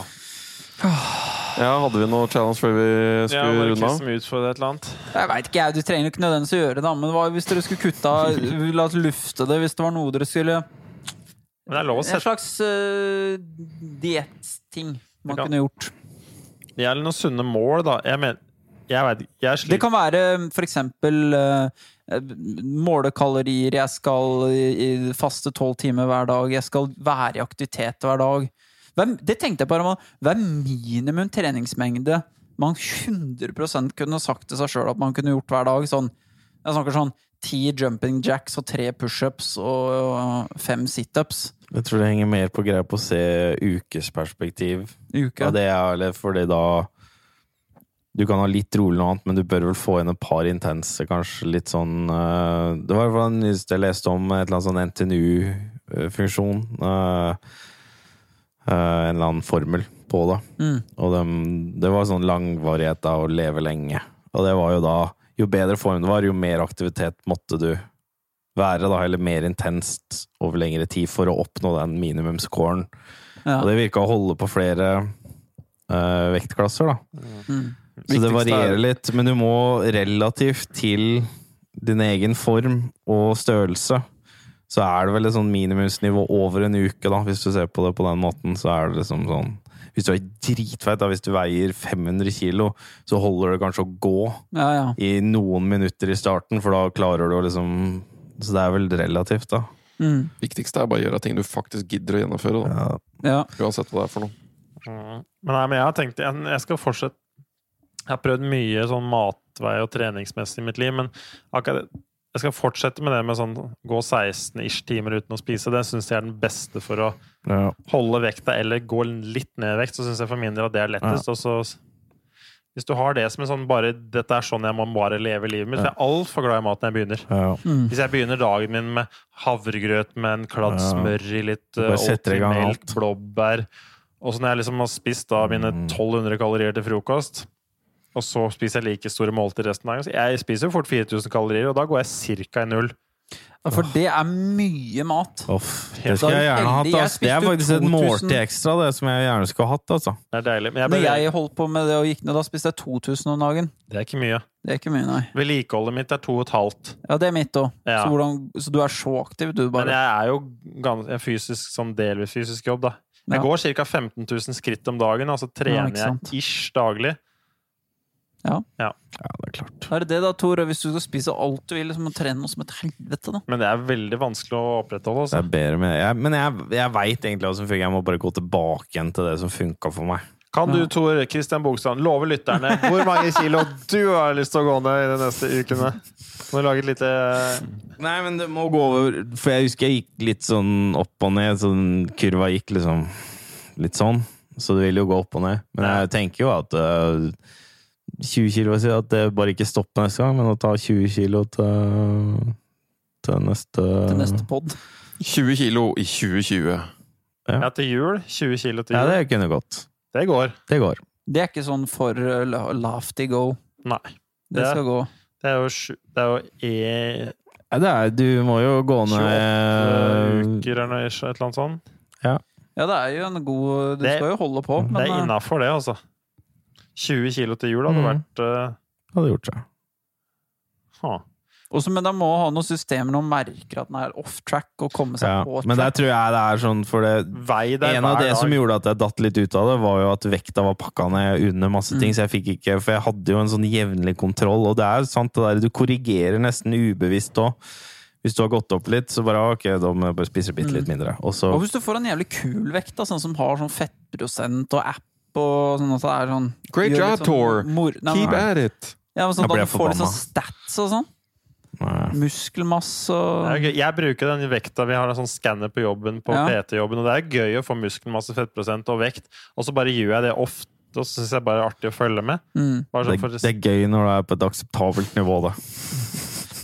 Ja, hadde vi noe challenge før vi Ja, skulle bare runde kryss av? dem ut for et eller annet. Jeg vet ikke, jeg. Du trenger ikke nødvendigvis å gjøre det, da, men hva hvis dere skulle kutta eh, La oss lufte det, hvis det var noe dere skulle Men det er lov å En sette slags uh, dietting man Ja. kunne gjort. Jeg er noen sunne mål, da. Jeg mener Jeg vet ikke. Jeg Det sliter. kan være um, for eksempel uh, måle kalorier. Jeg skal i- i faste tolv timer hver dag. Jeg skal være i aktivitet hver dag. Hvem, det tenkte jeg på. Herman. Hva er minimum treningsmengde man 100 kunne sagt til seg sjøl at man kunne gjort hver dag? Sånn, jeg snakker sånn ti jumping jacks og tre pushups og uh, fem situps Jeg tror det henger mer på greia på å se ukesperspektiv. i uka. Ja, det er eller fordi da Du kan ha litt rolig noe annet, men du bør vel få inn et par intense, kanskje litt sånn eh, Det var i hvert fall en nyeste jeg leste om, et eller annet sånn NTNU-funksjon. eh, en eller annen formel på det. Mm. Og dem- det var sånn langvarighet av å leve lenge. Og det var jo da Jo bedre form det var, jo mer aktivitet måtte du være, da, eller mer intenst over lengre tid for å oppnå den minimumscoren. Ja. Og det virka å holde på flere eh, vektklasser, da. Mm. Så det Viktigste varierer er- litt, men du må relativt til din egen form og størrelse. Så er det vel et sånn minimumsnivå over en uke, da, hvis du ser på det på den måten. Så er det liksom sånn Hvis du er dritfeit, da, hvis du veier 500 kilo, så holder det kanskje å gå ja, ja. i noen minutter i starten, for da klarer du å liksom Så det er vel relativt, da. Mm. Viktigste er bare å gjøre ting du faktisk gidder å gjennomføre. Da. ja. Uansett hva det er for noe. Mm. Men, nei, men jeg har tenkt jeg, jeg skal fortsette Jeg har prøvd mye sånn matvei og treningsmessig i mitt liv, men akkurat jeg skal fortsette med det med sånn gå 16-ish timer uten å spise. Det syns jeg er den beste for å Ja. holde vekta eller gå litt ned i vekt. Så syns jeg for min del at det er lettest. Og så hvis du har det som en sånn bare Dette er sånn jeg må bare leve livet mitt. For jeg er altfor glad i mat når jeg begynner. Ja. Hvis jeg begynner dagen min med havregrøt med en kladd Ja. smør i litt Bare uh, setter i gang melk, alt. blåbær Og så når jeg liksom har spist da mine Mm. 1200 kalorier til frokost, og så spiser jeg like store måltider resten av dagen så Jeg spiser jo fort 4000 kalorier, og da går jeg ca. i null. For det er mye mat. Uff, Helt det skulle jeg gjerne hatt. heldig. Jeg ass. Det er spiste faktisk et 2000 måltid ekstra, det som jeg gjerne skulle hatt. Altså. Det er deilig. Men jeg Når ble, jeg holdt på med det og gikk ned, da spiste jeg 2000 om dagen. det er ikke mye. Det er ikke mye, nei. Vedlikeholdet mitt er 2,5. Ja, det er mitt òg. Ja. Så, hvordan- så du er så aktiv, du Men bare. jeg er jo gans- jeg er fysisk, sånn delvis fysisk jobb, da. Ja. Jeg går ca. 15 000 skritt om dagen, og så Ja, trener ikke sant. jeg ish daglig. Ja, det er klart. Da er det det, da, Tor. Hvis du skal spise alt du vil, så må du trene noe som et helvete, da. Men det er veldig vanskelig å opprettholde. Det Altså. er bedre med jeg, Men jeg, jeg veit egentlig hva som funker. Jeg må bare gå tilbake igjen til det som funka for meg. Kan du, Tor Kristian Bogstad, love lytterne hvor mange kilo du har lyst til å gå ned i de neste ukene? Kan du lage et lite Nei, men det må gå over For jeg husker jeg gikk litt sånn opp og ned. Så den kurva gikk liksom litt sånn. Så det vil jo gå opp og ned. Men jeg tenker jo at øh, 20 kilo si at det bare ikke stopper neste gang, men å ta 20 kilo til, til neste Til neste pod. 20 kilo i 2020. Ja, til jul. 20 kilo til Ja, jul. det kunne gått. Det går. Det går. Det er ikke sånn for uh, la- lafty go. Nei. Det Det- skal gå. Det er jo, sju- det er jo e Ja, det er, du må jo gå Eh, Tjueåtte ned eh, uker eller noe, ish, et eller annet sånt. Ja, det er jo en god Du Det- skal jo holde Mm. på, men Det er uh, innafor, det, altså. 20 kilo til jul hadde Mm. vært eh, Hadde gjort seg. ha. Også, men da må ha noen systemer og merker at den er off track, og komme seg Ja. på Men der track. tror jeg det er sånn, for det Vei deg en av hver det dag. som gjorde at jeg datt litt ut av det, var jo at vekta var pakka ned under masse ting, så jeg fikk ikke For jeg hadde jo en sånn jevnlig kontroll, og det er jo sant det der, du korrigerer nesten ubevisst òg. Hvis du har gått opp litt, så bare ok, da må jeg bare spise bitte litt mindre. Og så Og hvis du får en jævlig kul vekt, da, sånn som har sånn fettprosent og app og sånn at det er sånn Great gjør job, litt sånn Tor. mor- Nei, Keep men- at it! Ja, men sånn Da blir at jeg du får litt forbanna. sånn stats og sånn. Nei. Muskelmasse og Det er gøy. Jeg bruker den vekta vi har en sånn skanner på jobben, på Ja. PT-jobben, og det er gøy å få muskelmasse, fettprosent og vekt, og så bare gjør jeg det ofte, og så syns jeg bare det er artig å følge med. mm. Bare det, sånn for, det er gøy når du er på et akseptabelt nivå, da.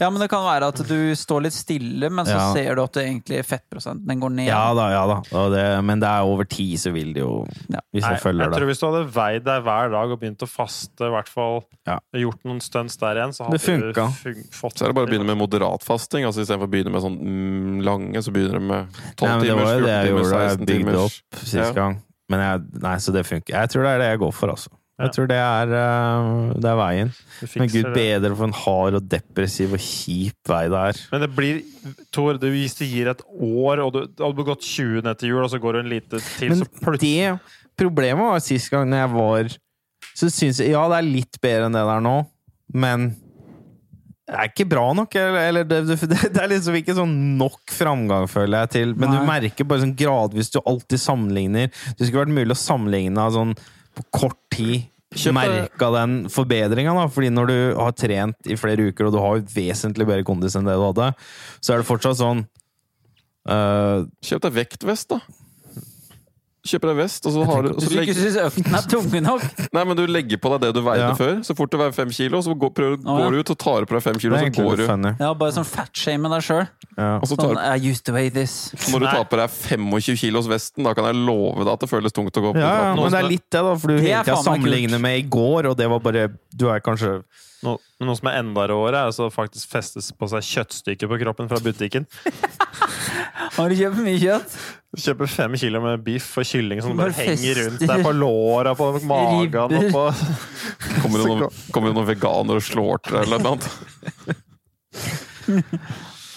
Ja, men det kan være at du står litt stille, men så Ja. ser du at det egentlig fettprosenten den går ned. Ja da, ja da. Og det, men det er over tid, så vil det jo Ja. Hvis Nei, jeg følger jeg det. tror hvis du hadde veid deg hver dag og begynt å faste, i hvert fall Ja. gjort noen stunts der igjen, så hadde Det funka. du fun- fått Så er det bare å begynne med moderat fasting. altså Istedenfor å begynne med sånn mm, lange, så begynner du med 12 Nei, men det timers, var jo det 14 jeg timers, gjorde. Jeg 16 bygde timers. opp sist Ja. gang. Men jeg, nei, så det funker. Jeg tror det er det jeg går for, altså. Ja. Jeg tror det er, eh, det er veien. Du Men fikser gud det. bedre for en hard og depressiv og kjip vei det er. Men det blir Tor, du, hvis du gir et år, og du og du har gått 20 ned til jul, og så går du en lite til, Men så plutselig det problemet var sist gang når jeg var Så syns jeg Ja, det er litt bedre enn det der nå, men det er ikke bra nok. Eller, eller det, det, det er liksom ikke sånn nok framgang, føler jeg, til Men du Nei. merker bare sånn gradvis du alltid sammenligner. Det skulle vært mulig å sammenligne sånn på kort tid. Kjøp deg- Merka den forbedringa, da. Fordi når du har trent i flere uker, og du har vesentlig bedre kondis enn det du hadde, så er det fortsatt sånn øh, Kjøp deg vektvest, da. Kjøper deg vest, og så, har du, og Hvis så du legger ikke syns økten er tunge nok Nei, men du legger på deg det du veide Ja. før. Så fort du veier fem kilo, så går, prøver, Å, ja. går du ut og tar på deg fem kilo, Det er så egentlig går du. litt funny. Ja, bare sånn fatshame deg sjøl. Ja. Og så tar, Sånn, I used to weigh this. når du tar på deg 25 kilos vesten, da kan jeg love deg at det føles tungt å gå opp. Ja, ja, trappen. men det er litt det, da, for du Det hele er tida faen meg sammenligner kult. med i går, og det var bare Du er kanskje No, noe som er enda råere, er altså faktisk festes på seg kjøttstykker på kroppen fra butikken. Har du kjøpt mye kjøtt? Kjøper fem kilo med biff og kylling som bare Bare henger rundt fester. deg på låra, på magen og Ribber. på Kommer det noen, kommer det noen veganere og slår til deg eller noe annet?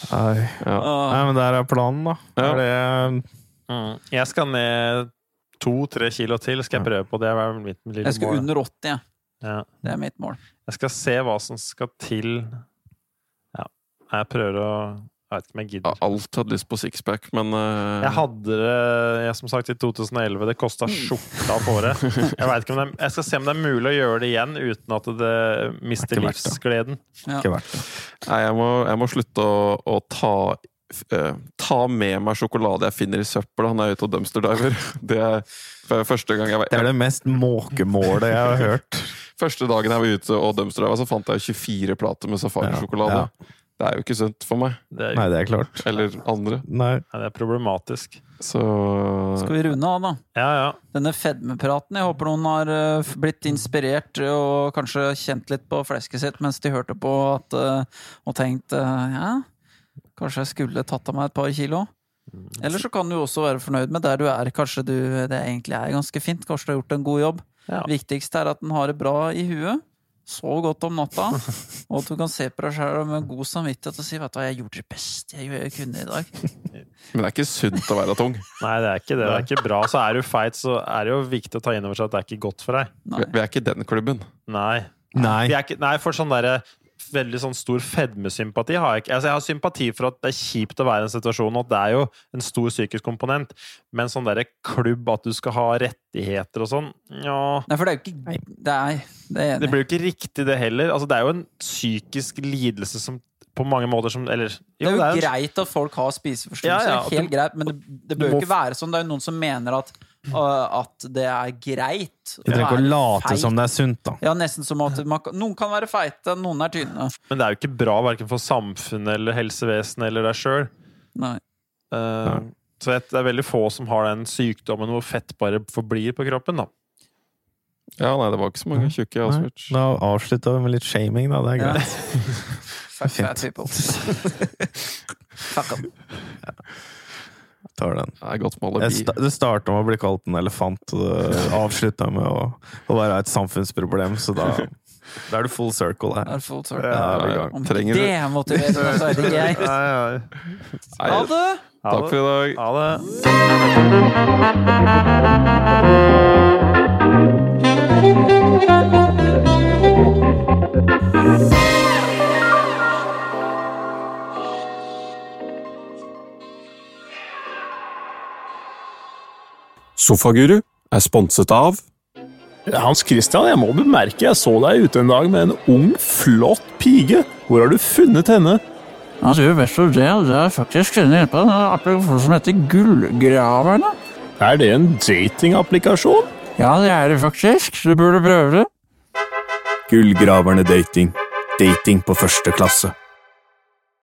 Nei, Ja. men der er planen, da. Ja. Er det, mm. Jeg skal ned to-tre kilo til, skal jeg prøve på det. Det er mitt lille Jeg skal mål. under 80, jeg. Ja. Det er mitt mål. Jeg skal se hva som skal til Ja, jeg prøver å Jeg vet ikke om jeg Jeg har gidder. alltid hatt lyst på sixpack, men eh, Jeg hadde det jeg, som sagt i 2011. Det kosta Mm. skjorta på det. Jeg, vet ikke om det er, jeg skal se om det er mulig å gjøre det igjen uten at det Det mister er ikke verdt det. livsgleden. ikke verdt det. nei, jeg, må, jeg må slutte å, å ta eh, ta med meg sjokolade jeg finner i søpla når jeg er ute og dumpsterdiver. Det er f- første gang jeg var det er det mest måkemålet jeg har hørt. Første dagen jeg var ute og dumpsterdiva, så fant jeg 24 plater med safarisjokolade. Ja, Det er jo ikke sunt for meg. Det er, Nei, det er klart. Eller andre. Nei. ja, det er problematisk. Så Skal vi runde av, da? Ja, ja. Denne fedmepraten. Jeg håper noen har eh, blitt inspirert og kanskje kjent litt på flesket sitt mens de hørte på at, eh, og tenkt eh, ja, kanskje jeg skulle tatt av meg et par kilo. Eller så kan du også være fornøyd med der du er. Kanskje du, eh, det egentlig er ganske fint. Kanskje du har gjort en god jobb. Ja. Viktigst er at den har det bra i huet. sov godt om natta, og at du kan se på deg sjøl med god samvittighet og si vet du hva, jeg gjorde det beste jeg gjorde- jeg kunne i dag. Men det er ikke sunt å være tung. Nei, det er ikke det. Det er ikke bra. Så er du feit, så er det jo viktig å ta inn over seg at det er ikke godt for deg. Vi vi er ikke den klubben. Nei. Nei. Vi er ikke, nei, for sånn derre Veldig sånn stor fedmesympati har jeg ikke. Altså, jeg har sympati for at det er kjipt å være i en situasjon, og at det er jo en stor psykisk komponent, men sånn derre klubb, at du skal ha rettigheter og sånn, ja Nei, for det er jo ikke Det er, det er Det enig. blir jo ikke riktig, det heller. Altså, det er jo en psykisk lidelse som på mange måter som Eller Det er jo en- greit at folk har spiseforstyrrelser, Ja, ja, det er helt greit, men det, det bør jo ikke være sånn. Det er jo noen som mener at, øh, at det er greit. Du trenger ikke å late feit. som det er sunt, da. Ja, nesten som at man, kan- noen kan være feite, noen er tynne. Men det er jo ikke bra verken for samfunnet eller helsevesenet eller deg Eh, sjøl. Nei. Eh, Så jeg- det er veldig få som har den sykdommen hvor fett bare forblir på kroppen. da. Ja, nei, det var ikke så mange tjukke i Nei. Auschwitz. Da avslutta vi med litt shaming, da. Det er Ja. greit. Fuck fat people. Fuck 'em. Tar den. Det er godt med Jeg alibi. sta- Det starta med å bli kalt en elefant, og det avslutta med å, å være et samfunnsproblem, så da, da er du full circle Det her. er full circle. Ja, vi er i gang. Om Trenger ikke du- det motiverer meg, så er det greit. Nei, nei. Ha Nei, det! Takk for i dag. Ha det. Sofaguru er sponset av Hans Christian, jeg må bemerke, jeg så deg ute en dag med en ung, flott pige. Hvor har du funnet henne? Ja, du, Altså, vet du det, det er faktisk en hjelp av en applikasjon som heter Gullgraverne. Er det en datingapplikasjon? Ja, det er det faktisk. Du burde prøve det. Gullgraverne dating. Dating på første klasse.